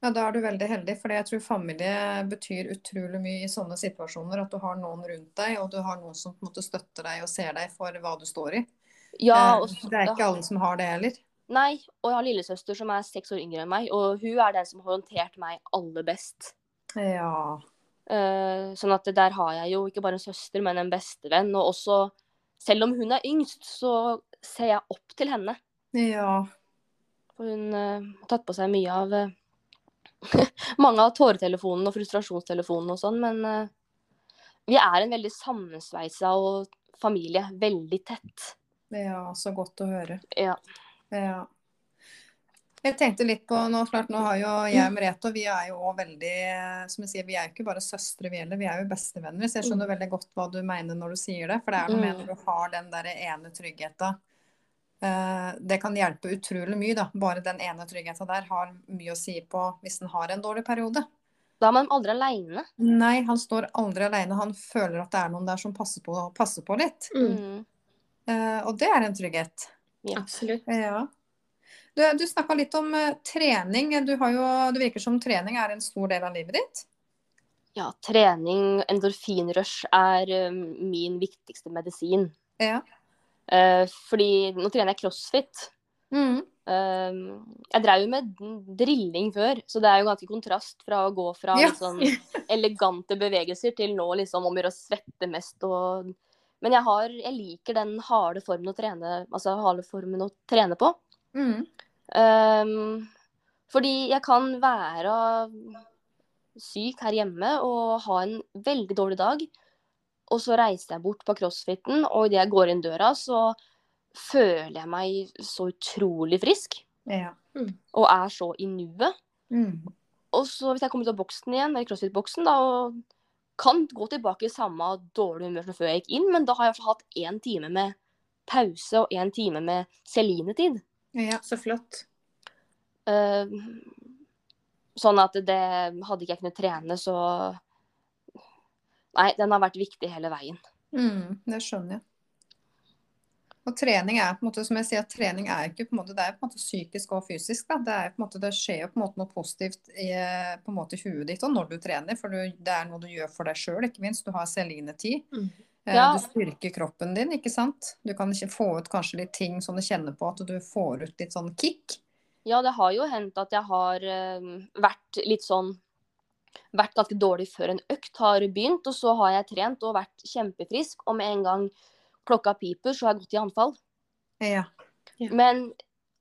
ja, da er du veldig heldig, for jeg tror familie betyr utrolig mye i sånne situasjoner. At du har noen rundt deg, og du har noen som på en måte støtter deg og ser deg for hva du står i.
Ja,
Eh,
og
Det er ikke alle som har det heller.
Nei, og jeg har lillesøster som er seks år yngre enn meg, og hun er den som har håndtert meg aller best.
Ja.
Eh, sånn at der har jeg jo ikke bare en søster, men en bestevenn. Og også, selv om hun er yngst, så ser jeg opp til henne.
Ja.
For hun eh, har tatt på seg mye av eh, [LAUGHS] mange av tåretelefonene og frustrasjonstelefonene og sånn, men eh, vi er en veldig sammensveisa og familie. Veldig tett.
Ja, så godt å høre.
Ja.
Ja. Jeg tenkte litt på nå, klart, nå har jo jeg og Merete, og vi er jo også veldig eh, Som jeg sier, vi er jo ikke bare søstre, vi heller. Vi er jo bestevenner. Så jeg skjønner veldig godt hva du mener når du sier det. For det er noe med
Mm.
når du har den der ene tryggheten. eh, Det kan hjelpe utrolig mye, da. Bare den ene tryggheten der har mye å si på hvis en har en dårlig periode.
Da er man aldri aleine.
Nei, han står aldri alene. Han føler at det er noen der som passer på, passer på litt.
Mm.
Eh, Og det er en trygghet.
Absolutt.
Ja. Du, du snakka litt om eh, trening. Du har jo, det virker som trening er en stor del av livet ditt.
Ja, trening, endorfinrush, er eh, min viktigste medisin.
Ja.
Eh, fordi nå trener jeg crossfit. Eh, jeg drev jo med drilling før, så det er jo ganske kontrast fra å gå fra
Ja.
litt sånn elegante bevegelser til nå liksom om å gjøre å svette mest og Men jeg, har, jeg liker den harde formen å trene, altså harde formen å trene på.
Mm.
Ehm, fordi jeg kan være syk her hjemme og ha en veldig dårlig dag, og så reiser jeg bort på crossfiten, og idet jeg går inn døra, så føler jeg meg så utrolig frisk,
Ja.
og er så i nuet.
Mm.
Og så hvis jeg kommer ut av boksen igjen, eller crossfit-boksen, da, og kan gå tilbake i samme dårlige humør som før jeg gikk inn, men da har jeg i hvert fall hatt én time med pause og én time med Celine-tid.
Ja.
Så flott.
Eh, sånn at det hadde ikke jeg kunnet trene, så Nei, den har vært viktig hele veien.
Mm. Det skjønner jeg. Og trening er på en måte, som jeg sier, trening er ikke på en måte, det er på en måte psykisk og fysisk. Da. Det, er på en måte, det skjer jo på en måte noe positivt i, eh, på en måte, i huet ditt og når du trener. For du, det er noe du gjør for deg sjøl, ikke minst. Du har selinetid.
Mm.
Eh,
Ja.
Du styrker kroppen din, ikke sant. Du kan ikke få ut kanskje litt ting som du kjenner på at du får ut litt sånn kick.
Ja, det har jo hendt at jeg har eh, vært litt sånn Vært ganske dårlig før en økt har begynt, og så har jeg trent og vært kjempefrisk, og med en gang klokka piper, så har jeg gått i anfall.
Ja.
Men,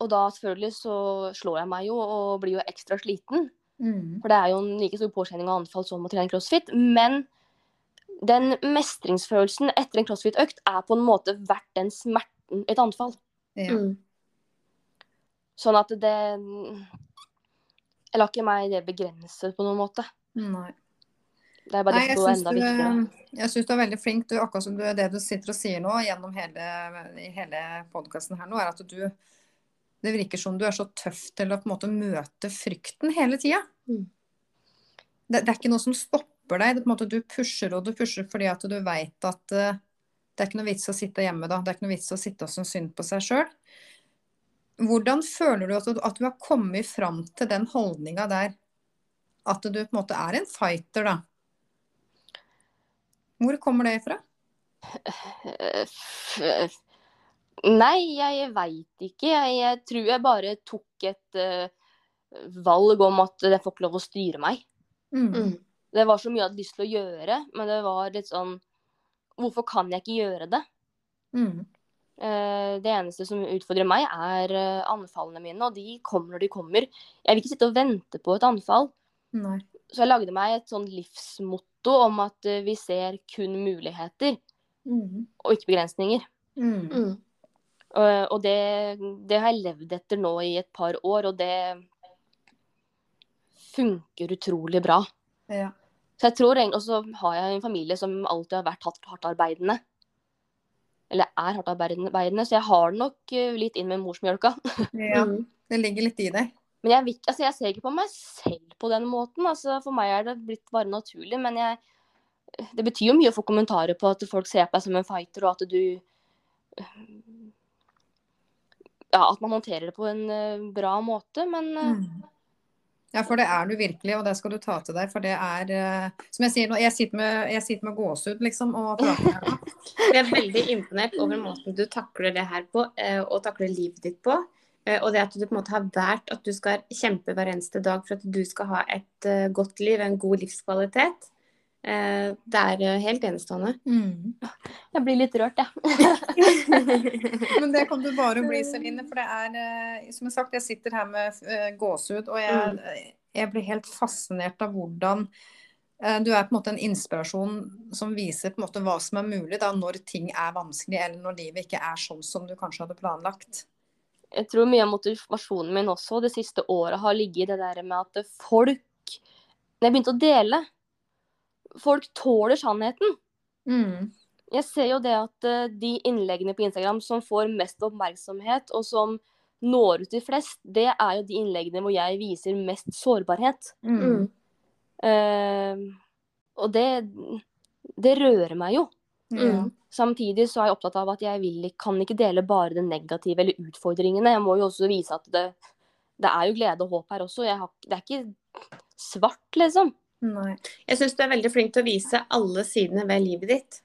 og da selvfølgelig så slår jeg meg jo og blir jo ekstra sliten.
Mm.
For det er jo en like stor påkjenning og anfall som å trene crossfit. Men den mestringsfølelsen etter en crossfit-økt er på en måte verdt den smerten et anfall.
ja.
Mm.
Sånn at det Jeg lar ikke meg det begrense på noen måte.
Nei.
Det er bare
Nei, jeg
det
um,
som er
syns
enda
du,
viktigere.
jeg synes du er veldig flink. Du, akkurat som du, det du sitter og sier nå gjennom hele, i hele podkasten her nå, er at du Det virker som du er så tøff til å på en måte møte frykten hele tida.
Mm.
Det, det er ikke noe som stopper deg. Det, er på en måte, du pusher og du pusher fordi at du veit at eh, det er ikke noe vits å sitte hjemme da. Det er ikke noe vits å sitte og synes synd på seg sjøl. Hvordan føler du at du, at du har kommet fram til den holdninga der? At du på en måte er en fighter, da. Hvor kommer det ifra?
Eh, f- Nei, jeg veit ikke. Jeg, jeg tror jeg bare tok et eh, valg om at det får ikke lov å styre meg.
Mm.
Mm.
Det var så mye jeg hadde lyst til å gjøre, men det var litt sånn Hvorfor kan jeg ikke gjøre det?
Mm.
Eh, Det eneste som utfordrer meg, er eh, anfallene mine, og de kommer når de kommer. Jeg vil ikke sitte og vente på et anfall,
Nei.
så jeg lagde meg et sånn livsmotto om at eh, vi ser kun muligheter
Mm.
og ikke begrensninger.
Mm.
Mm.
Eh, Og det, det har jeg levd etter nå i et par år, og det funker utrolig bra.
Ja.
Så jeg tror egentlig, Og så har jeg en familie som alltid har vært hardt- hardtarbeidende. Eller er hardtarbeidende, så jeg har det nok eh, litt inn med morsmjølka.
ja.
Mm.
Det ligger litt i deg.
Men jeg, vil ikke- altså jeg ser ikke på meg selv på den måten. Altså for meg er det blitt bare naturlig. Men jeg, det betyr jo mye å få kommentarer på at folk ser på deg som en fighter, og at du Ja, at man håndterer det på en eh, bra måte, men eh,
Mm. Ja, for det er du virkelig, og det skal du ta til deg. For det er eh, Som jeg sier nå, jeg sitter med, jeg sitter med gåsehud, liksom, og prater her [LAUGHS] nå.
Jeg er veldig imponert over måten du takler det her på, eh, og takler livet ditt på. Eh, Og det at du på en måte har valgt at du skal kjempe hver eneste dag for at du skal ha et eh, godt liv, en god livskvalitet. Eh, Det er eh, helt enestående.
Mm.
jeg blir litt rørt, jeg. [LAUGHS]
Men det kan du bare bli, Celine. For det er, eh, som jeg sagt, jeg sitter her med eh, gåsehud, og jeg, jeg blir helt fascinert av hvordan eh, du er på en måte en inspirasjon som viser på en måte hva som er mulig da, når ting er vanskelig, eller når livet ikke er sånn som du kanskje hadde planlagt.
jeg tror mye av motivasjonen min også det siste året har ligget i det der med at folk Når jeg begynte å dele Folk tåler sannheten.
Mm.
Jeg ser jo det at eh, de innleggene på Instagram som får mest oppmerksomhet, og som når ut til flest, det er jo de innleggene hvor jeg viser mest sårbarhet.
Mm.
Eh, og det, det rører meg jo.
Ja.
Samtidig så er jeg opptatt av at jeg vil, kan ikke dele bare det negative eller utfordringene. Jeg må jo også vise at det, det er jo glede og håp her også. Jeg har, det er ikke svart, liksom.
Nei.
Jeg syns du er veldig flink til å vise alle sidene ved livet ditt.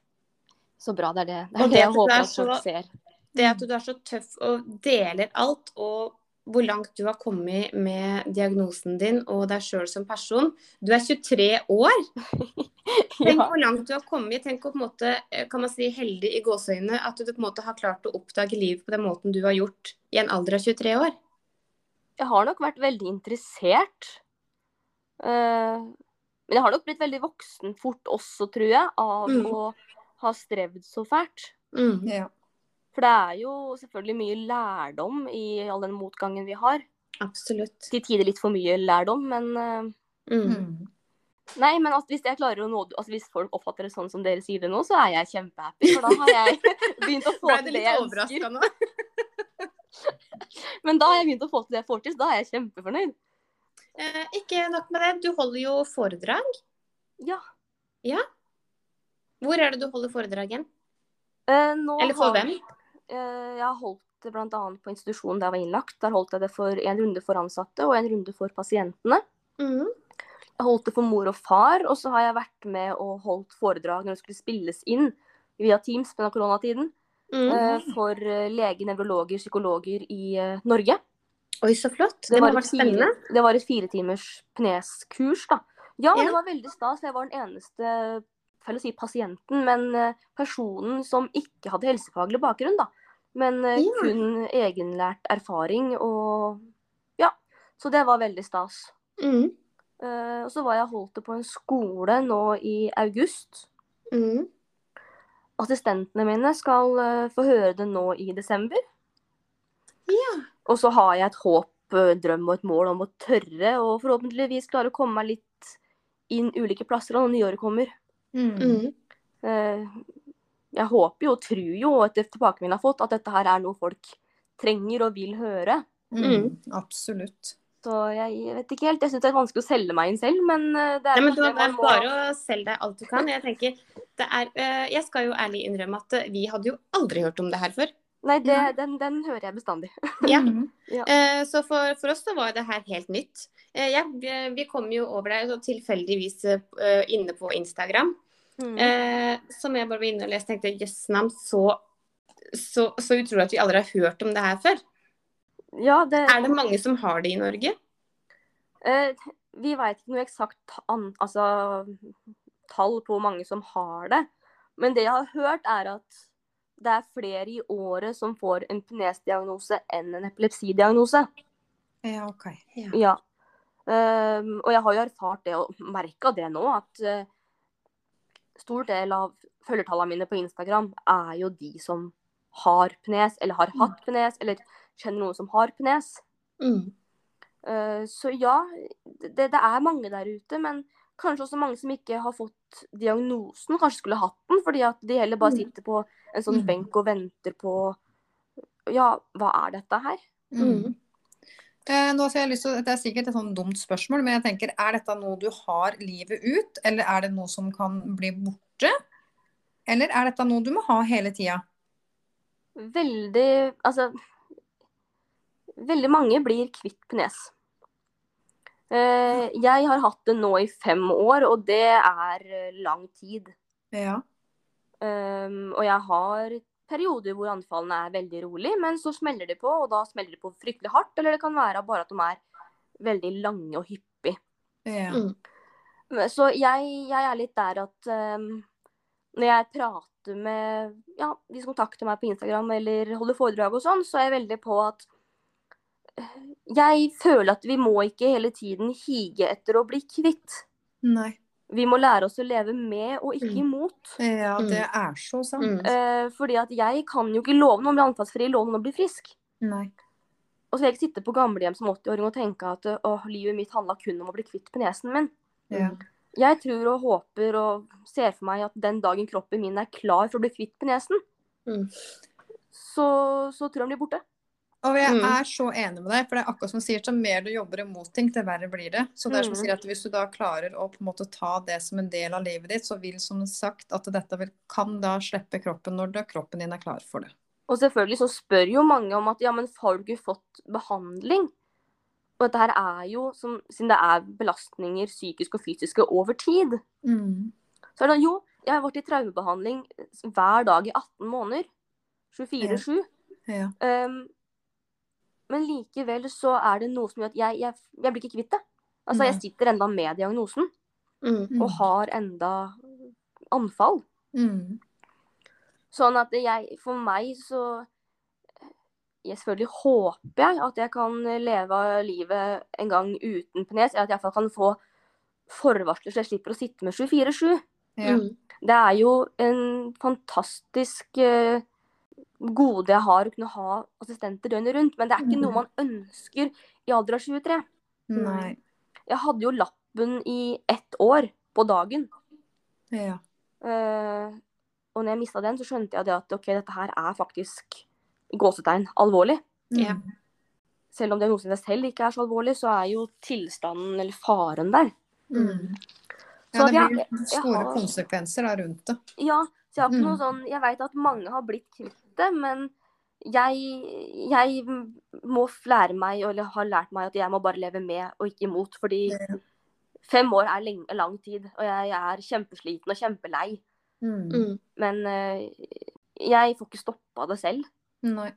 Så bra det er det. Det
Og
er
det
det jeg
at du er
håper at folk
så-
ser.
Det at du er så tøff og deler alt, og hvor langt du har kommet med diagnosen din og deg sjøl som person. Du er 23 år. Tenk
Ja.
hvor langt du har kommet. Tenk hvor på en måte, eh, kan man si, heldig i gåseøynene at du på en måte har klart å oppdage livet på den måten du har gjort i en alder av 23 år.
Jeg har nok vært veldig interessert. Eh, men jeg har nok blitt veldig voksen fort også, tror jeg, av
Mm.
å ha strevd så fælt.
Mm.
Ja.
For det er jo selvfølgelig mye lærdom i all den motgangen vi har.
Absolutt.
Til tider litt for mye lærdom, men eh,
Mm.
Mm.
Nei, men altså, hvis jeg klarer å nå altså, Hvis folk oppfatter det sånn som dere sier det nå, så er jeg kjempehappy. For da har jeg [LAUGHS] begynt å få
Ble du
til det
litt
jeg
overraska
ønsker.
nå?
Men da har jeg begynt å få til det jeg får til, så da er jeg kjempefornøyd.
[LAUGHS] Eh, ikke nok med det, du holder jo foredrag.
Ja.
Hvor er det du holder foredrag igjen?
Eh, nå
Eller for
har-
hvem?
Eh, Jeg har holdt det bl.a. på institusjonen der jeg var innlagt. Der holdt jeg det for en runde for ansatte og en runde for pasientene.
Mhm.
Jeg holdt det for mor og far, og så har jeg vært med og holdt foredrag når det skulle spilles inn via Teams pga. koronatiden.
Mhm.
eh, For eh, leger, nevrologer, psykologer i eh, Norge.
Oi, så flott. Det,
Det
må
var
ha
et
vært spennende.
Fire, det var et firetimers pneskurs, da. Ja,
Ja.
det var veldig stas. Jeg var den eneste feil å si pasienten, men eh, personen som ikke hadde helsefaglig bakgrunn, da. Men eh,
Ja.
kun egenlært erfaring og Ja. Så det var veldig stas.
Mhm.
Eh, og så var jeg holdt det på en skole nå i august.
Mhm.
Assistentene mine skal eh, få høre det nå i desember.
Ja.
Og så har jeg et håp, eh, drøm og et mål om å tørre og forhåpentligvis klare å komme meg litt inn ulike plasser da når nyåret kommer.
Mm.
Mhm.
Eh, Jeg håper jo og tror jo etter tilbakemeldingen jeg har fått, at dette her er noe folk trenger og vil høre.
Mm. Absolutt.
Så jeg vet ikke helt. Jeg syns det er vanskelig å selge meg inn selv, men eh, det er
Nei, men
kanskje
det
det man
er
må-
bare å selge deg alt du kan. Jeg tenker, det er, øh, jeg skal jo ærlig innrømme at øh, vi hadde jo aldri hørt om det her før.
Nei, det,
Nei.
den, den hører jeg bestandig.
Ja.
Mm.
Eh, Så for, for oss så var det her helt nytt. Eh, Jeg, vi kom jo over deg så tilfeldigvis øh, inne på Instagram.
Mm.
Eh, som jeg bare var inne og leste, tenkte jeg jøss navn, så, så, så utrolig at vi aldri har hørt om det her før.
Ja, det,
Er det mange som har det i Norge?
eh, vi veit ikke noe eksakt ta- an, altså, tall på hvor mange som har det. Men det jeg har hørt, er at det er flere i året som får en penesdiagnose enn en epilepsidiagnose.
Ja, OK.
Ja. Ehm, og jeg har jo erfart det og merka det nå, at eh, stor del av følgertallene mine på Instagram er jo de som har pnes, eller har hatt pnes, eller kjenner noen som har pnes.
Mm.
Eh, Så ja, det, det er mange der ute, men kanskje også mange som ikke har fått diagnosen, kanskje skulle hatt den, fordi at de heller bare
Mm.
sitter på en sånn
Mm.
benk og venter på Ja, hva er dette her?
Mm. Eh, Nå har jeg lyst til, å- det er sikkert et sånn dumt spørsmål, men jeg tenker, er dette noe du har livet ut, eller er det noe som kan bli borte? Eller er dette noe du må ha hele tida?
Veldig Altså Veldig mange blir kvitt pnes. Eh, Jeg har hatt det nå i fem år, og det er eh, lang tid.
Ja.
Um, og jeg har perioder hvor anfallene er veldig rolig, men så smeller de på, og da smeller de på fryktelig hardt, eller det kan være bare at de er veldig lange og hyppig.
Ja.
Mm.
Så jeg, jeg er litt der at um, når jeg prater med ja, de som kontakter meg på Instagram eller holder foredrag og sånn, så er jeg veldig på at eh, jeg føler at vi må ikke hele tiden hige etter å bli kvitt.
Nei.
Vi må lære oss å leve med og ikke
Mm.
imot.
Ja, det er så sant.
Mm.
Eh, fordi at jeg kan jo ikke love noen å bli anfallsfri, love noen å bli frisk.
Eh, Nei.
Og så vil jeg ikke sitte på gamlehjem som 80-åring og tenke at åh, livet mitt handla kun om å bli kvitt penesen min.
Ja.
Jeg tror og håper og ser for meg at den dagen kroppen min er klar for å bli kvitt penesen,
Mm.
så, så tror jeg den blir borte.
Og jeg
Mm.
er så enig med deg, for det er akkurat som du sier, så mer du jobber imot ting, det verre blir det. Så det er som du
Mm.
sier at hvis du da klarer å på en måte ta det som en del av livet ditt, så vil som sagt at dette vil, kan da slippe kroppen når da kroppen din er klar for det.
Og selvfølgelig så spør jo mange om at ja, men har du ikke fått behandling? Og dette her er jo, som, siden det er belastninger psykiske og fysiske over tid,
Mm.
så er det sånn jo, jeg har vært i traumebehandling hver dag i 18 måneder. 24-7.
Ja.
Um, men likevel så er det noe som gjør at jeg, jeg, jeg blir ikke kvitt det. Altså, jeg
Nei.
sitter enda med diagnosen
Mm.
og har enda anfall.
Mm.
Sånn at jeg, for meg så jeg Selvfølgelig håper jeg at jeg kan leve livet en gang uten penes, eller at jeg iallfall kan få forvarsler så jeg slipper å sitte med 24-7.
Ja.
Mm.
Det er jo en fantastisk eh, gode jeg har å kunne ha assistenter døgnet rundt, men det er ikke
Mhm.
noe man ønsker i alder av 23.
Nei.
Jeg hadde jo lappen i ett år på dagen.
Ja.
eh, og når jeg mista den, så skjønte jeg det at ok, dette her er faktisk i gåsetegn alvorlig.
Ja.
Mm.
Selv om diagnosen i seg selv ikke er så alvorlig, så er jo tilstanden eller faren der.
Mm.
Så
Ja, det
jeg-
blir
jeg
store
har-
konsekvenser da rundt det.
Ja, så jeg har ikke
Mm.
noe sånn Jeg veit at mange har blitt kvitt det, men jeg, jeg må f- lære meg, eller har lært meg, at jeg må bare leve med og ikke imot. Fordi fem år er lenge, lang tid, og jeg er kjempesliten og kjempelei.
Mm.
Mm.
Men eh, jeg får ikke stoppa det selv.
Nei.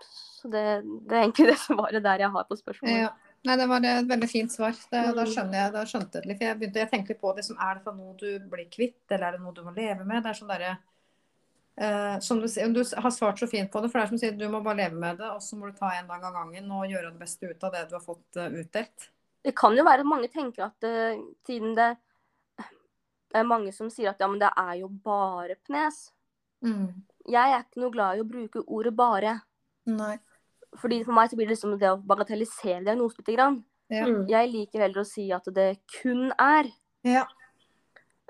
Så det, det er egentlig [LAUGHS] det svaret der jeg har på spørsmålet.
Ja. Nei, det var et veldig fint svar. Det, da,
Mm.
skjønner jeg, da skjønte jeg det litt. For jeg, begynte, jeg tenkte litt på det som er det for noe du blir kvitt, eller er det noe du må leve med? Det er sånn derre eh, som du, sier- du har svart så fint på det, for det er som du sier, du må bare leve med det, og så må du ta en dag av gangen og gjøre det beste ut av det du har fått eh, utdelt.
Det kan jo være at mange tenker at eh, siden det det er mange som sier at ja, men det er jo bare pnes. Jeg er ikke noe glad i å bruke ordet bare.
Nei.
Fordi for meg så blir det liksom det å bagatellisere diagnosen litt. Grann.
Ja.
Mm.
Jeg liker heller å si at det kun er.
Ja.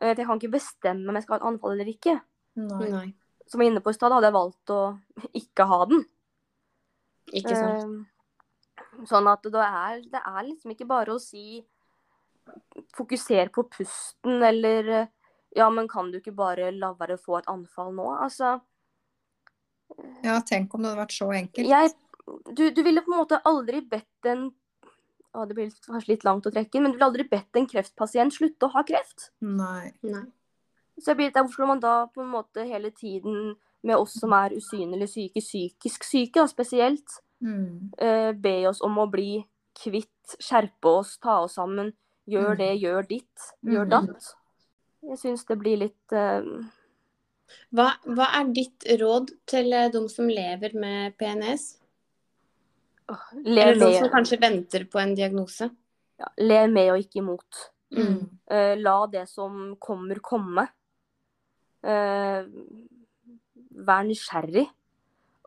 Eh, For jeg kan ikke bestemme om jeg skal ha et anfall eller ikke.
Nei.
Nei,
Som jeg var inne på i stad, hadde jeg valgt å ikke ha den.
ikke sant.
Eh, Sånn at det er, det er liksom ikke bare å si Fokuser på pusten, eller eh, Ja, men kan du ikke bare la være å få et anfall nå? Altså,
Ja, tenk om det hadde vært så enkelt.
jeg Du, du ville på en måte aldri bedt en å, Det blir litt- kanskje litt langt å trekke inn, men du ville aldri bedt en kreftpasient slutte å ha kreft.
Nei.
Nei.
Så jeg blir litt der, hvorfor skal man da på en måte hele tiden, med oss som er usynlig syke, psykisk syke da, spesielt,
Mm.
eh, be oss om å bli kvitt, skjerpe oss, ta oss sammen. Gjør
Mm.
det, gjør ditt, gjør
Mm.
datt. Jeg syns det blir litt eh,
Hva, hva er ditt råd til eh, de som lever med PNS?
åh, le,
Eller de som
med,
kanskje venter på en diagnose?
ja, le med og ikke imot.
Mm.
Mm.
Eh, la det som kommer, komme. Eh, vær nysgjerrig.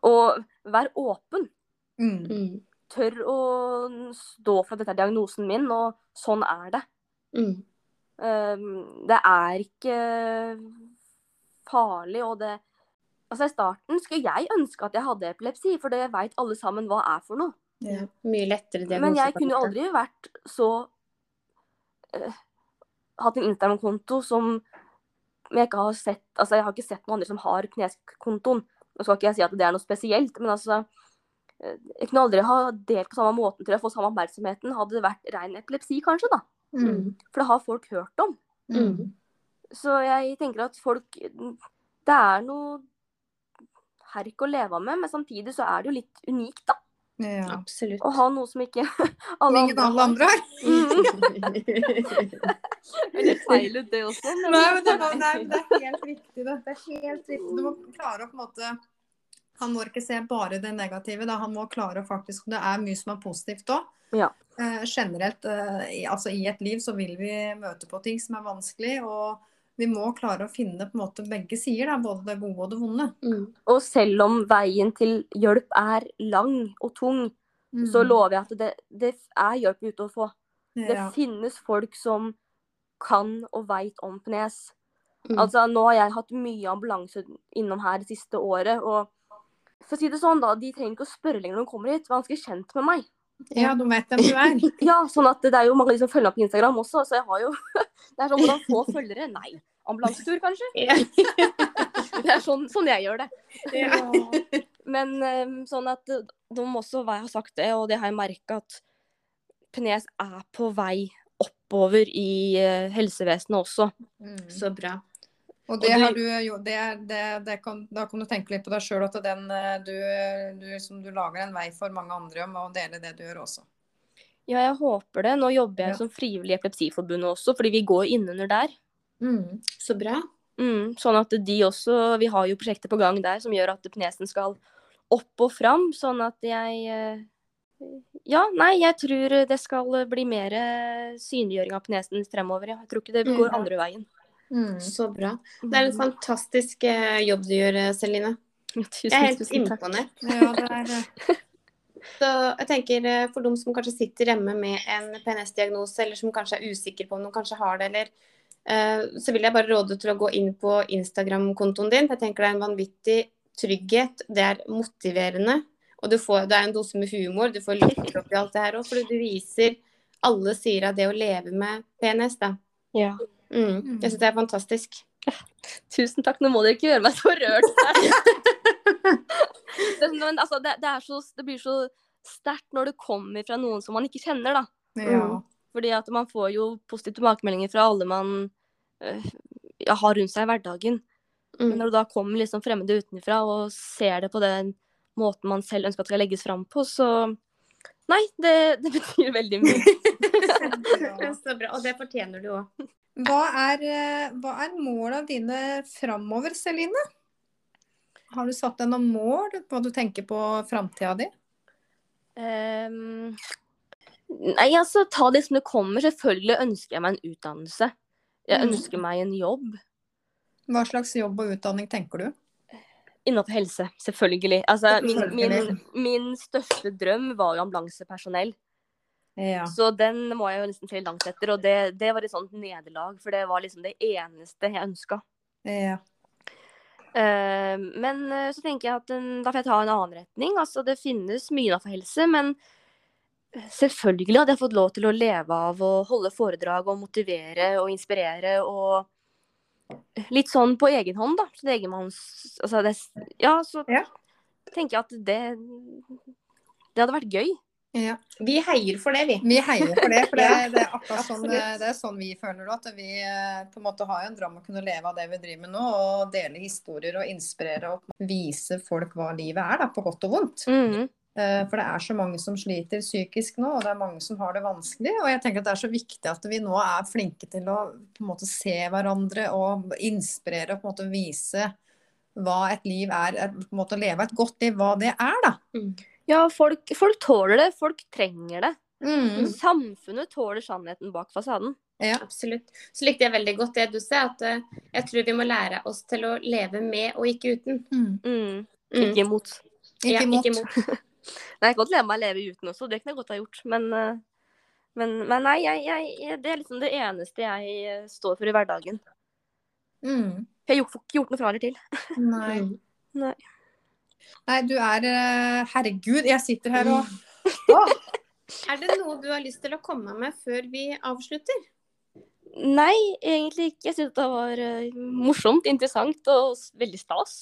Og vær åpen.
Mm.
Mm.
Tør å stå for at dette er diagnosen min, og sånn er det.
Mm.
Ehm, det er ikke farlig, og det Altså, I starten skulle jeg ønske at jeg hadde epilepsi, for det veit alle sammen hva er for noe.
Ja.
Mye lettere diagnose.
Men jeg kunne jo
kanskje.
aldri vært så eh, Hatt en Instagram-konto som men jeg ikke har sett Altså, jeg har ikke sett noen andre som har kneskontoen. Nå skal ikke jeg si at det er noe spesielt, men altså eh, Jeg kunne aldri ha delt på samme måten til å få samme oppmerksomheten hadde det vært ren epilepsi, kanskje, da.
Mm.
For det har folk hørt om.
Mm.
Så jeg tenker at folk Det er noe herk å leve med, men samtidig så er det jo litt unikt, da.
Ja.
Absolutt.
Å ha noe som ikke [LAUGHS]
Som
alle
Ingen alle
har.
andre har.
Mm.
Det er [LAUGHS] litt feil ut, det også. men- altså.
Nei, men det, var, nei, men det er helt riktig. Det. det er helt riktig. Du må klare å på en måte Han må ikke se bare det negative. Da. Han må klare å faktisk Det er mye som er positivt òg.
Ja.
Eh, generelt, eh, i, altså i et liv så vil vi møte på ting som er vanskelig, og vi må klare å finne på en måte begge sider, da, både det gode og det vonde.
[LAUGHS] Mm.
Og selv om veien til hjelp er lang og tung, så lover jeg at det, det er hjelp ute å få. Det
ja.
finnes folk som kan og veit om pnes.
Mm.
Altså, nå har jeg hatt mye ambulanse innom her det siste året, og for å si det sånn, da, de trenger ikke å spørre lenger når de kommer hit. De er ganske kjent med meg.
ja, du vet hvem du er. [LAUGHS]
Ja, sånn at det er jo mange av de som følger meg på Instagram også, så jeg har jo [LAUGHS] Det er sånn hvordan få følgere? Nei. Ambulansetur, kanskje?
Ja. [LAUGHS]
Det er sånn, sånn jeg gjør det.
Ja.
Men eh, sånn at eh, de må også være- ha sagt det, og det har jeg merka at Penes er på vei oppover i eh, helsevesenet også.
Mm.
Så bra.
Og det
Og du-
har du jo, det, er- det, det kan, da kan du tenke litt på deg sjøl, at den eh, du, du, som du lager en vei for mange andre om å dele det du gjør også.
Ja, jeg håper det. Nå jobber jeg
Ja.
som frivillig i Epilepsiforbundet også, fordi vi går innunder der.
Så bra.
Mm, sånn at de også Vi har jo prosjekter på gang der som gjør at penesen skal opp og fram, sånn at jeg eh, Ja, nei, jeg tror det skal bli mer eh, synliggjøring av penesen fremover, ja. Jeg tror ikke det går
Mm.
andre veien.
mm.
Så bra. Det
Mm.
er en fantastisk eh, jobb du gjør, eh, Celine.
[LAUGHS] Tusen,
Jeg er helt
tusen takk.
imponert.
Ja, det er eh,
Så jeg tenker eh, For dem som kanskje sitter hjemme med en PNS-diagnose, eller som kanskje er usikker på om de kanskje har det, eller eh, så vil jeg bare råde til å gå inn på Instagram-kontoen din. Jeg tenker Det er en vanvittig trygghet. Det er motiverende. Og du får, det er en dose med humor. Du får litt opp i alt det her òg, fordi du viser alle sider av det å leve med PNS. da.
Ja.
Mm. Jeg syns det er fantastisk. [LAUGHS]
Tusen takk. Nå må dere ikke gjøre meg så rørt. her. Det er sånn, men altså, det, det, er så, det blir så sterkt når det kommer fra noen som man ikke kjenner, da.
Ja.
Fordi at man får jo positive tilbakemeldinger fra alle man øh, ja, har rundt seg i hverdagen. Men
Mm.
når du da kommer liksom fremmede utenfra og ser det på den måten man selv ønsker at det skal legges fram på, så Nei, det, [LAUGHS] det betyr veldig mye.
Ja.
Så bra. Og det fortjener du òg.
Hva er, eh, hva er måla dine framover, Celine? Har du satt deg noen mål, hva du tenker på framtida di?
Ehm, nei, altså, ta det som det kommer. Selvfølgelig ønsker jeg meg en utdannelse. Jeg
Mm.
ønsker meg en jobb
Hva slags jobb og utdanning tenker du?
innenfor helse, selvfølgelig. Altså, min, min,
Selvfølgelig.
min største drøm var jo ambulansepersonell.
Ja.
Så den må jeg jo nesten se langt etter, og det, det var et sånt nederlag, for det var liksom det eneste jeg ønska.
ja.
Eh, men eh, så tenker jeg at den, da får jeg ta en annen retning. Altså, det finnes mye innenfor helse, men eh, selvfølgelig hadde jeg fått lov til å leve av å holde foredrag og motivere og inspirere og litt sånn på egen hånd, da. Så det er egenmanns... Altså, det, ja, så
Ja.
tenker jeg at det Det hadde vært gøy.
ja.
Vi heier for det, vi.
Vi heier for det, for det,
Ja.
det er akkurat sånn,
Absolutt.
det er sånn vi føler det. At vi eh, på en måte har jo en drøm om å kunne leve av det vi driver med nå. Og dele historier og inspirere og vise folk hva livet er, da, på godt og vondt.
Mm.
Mhm.
Eh, For det er så mange som sliter psykisk nå, og det er mange som har det vanskelig. Og jeg tenker at det er så viktig at vi nå er flinke til å på en måte se hverandre og inspirere og på en måte vise hva et liv er, er på en måte å leve et godt liv, hva det er, da.
Mm.
Ja, folk, folk tåler det. Folk trenger det.
Mm.
Samfunnet tåler sannheten bak fasaden.
Absolutt. Så likte jeg veldig godt det du sa, at eh, jeg tror vi må lære oss til å leve med og ikke uten.
Mm.
Mm.
Mm.
Ikke imot.
Ja,
Ikke imot.
Ikke imot.
Nei, jeg kan godt leve meg å leve uten også, det kunne jeg godt ha gjort. Men, eh, men, men nei, jeg, jeg, jeg, det er liksom det eneste jeg eh, står for i hverdagen.
Mm.
Jeg har gjort- ikke gjort noe fra eller til.
Nei.
Mm.
Nei.
Nei, du er eh, Herregud, jeg sitter her og
Er det noe du har lyst til å komme med før vi avslutter?
Nei, egentlig ikke. Jeg syntes det var eh, morsomt, interessant og s- veldig stas.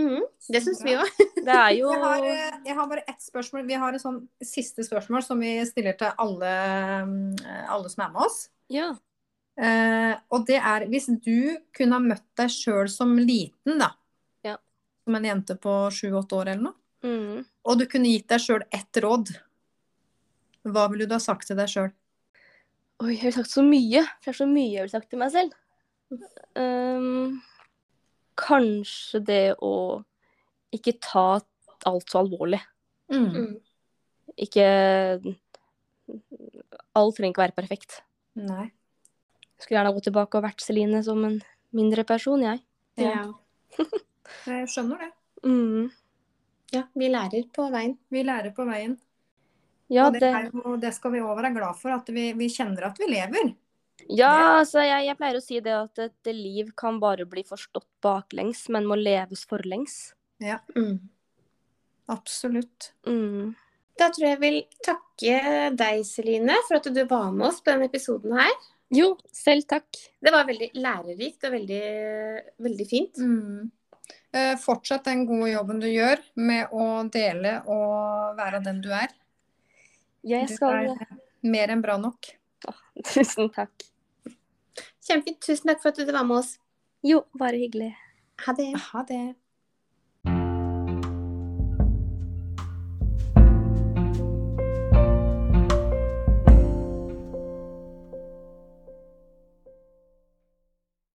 Mm. Det syns vi òg.
Det er [LAUGHS] jo
Jeg har, eh, jeg har bare ett spørsmål. Vi har et sånn siste spørsmål som vi stiller til alle, eh, alle som er med oss.
Ja.
Eh, og det er hvis du kunne ha møtt deg sjøl som liten, da.
Ja.
Som en jente på sju-åtte år eller noe.
Mm.
Og du kunne gitt deg sjøl ett råd. Hva ville du ha sagt til deg sjøl?
Oi, jeg har sagt så mye. For det er så mye jeg vil sagt til meg selv. Ehm, kanskje det å ikke ta alt så alvorlig.
Mm.
Ikke Alt trenger ikke være perfekt.
Nei.
Jeg Skulle gjerne gå tilbake og vært Celine som en mindre person, jeg.
Ja. Jeg skjønner det.
Mm.
ja. Vi lærer på veien.
Vi lærer på veien.
Ja,
og det,
det,
er jo, det skal vi òg være glad for, at vi, vi kjenner at vi lever.
ja altså, jeg, jeg pleier å si det at et liv kan bare bli forstått baklengs, men må leves forlengs.
Mm.
Absolutt.
Mm.
Da tror jeg jeg vil takke deg, Celine, for at du var med oss på denne episoden her.
Jo, selv takk.
Det var veldig lærerikt og veldig, veldig fint.
Mm. Eh, fortsett den gode jobben du gjør med å dele og være den du er.
Jeg
Du
skal
er mer enn bra nok.
[LAUGHS] Tusen takk.
Kjempefint. Tusen takk for at du var med oss.
Jo, bare hyggelig.
Ha det.
Ha det.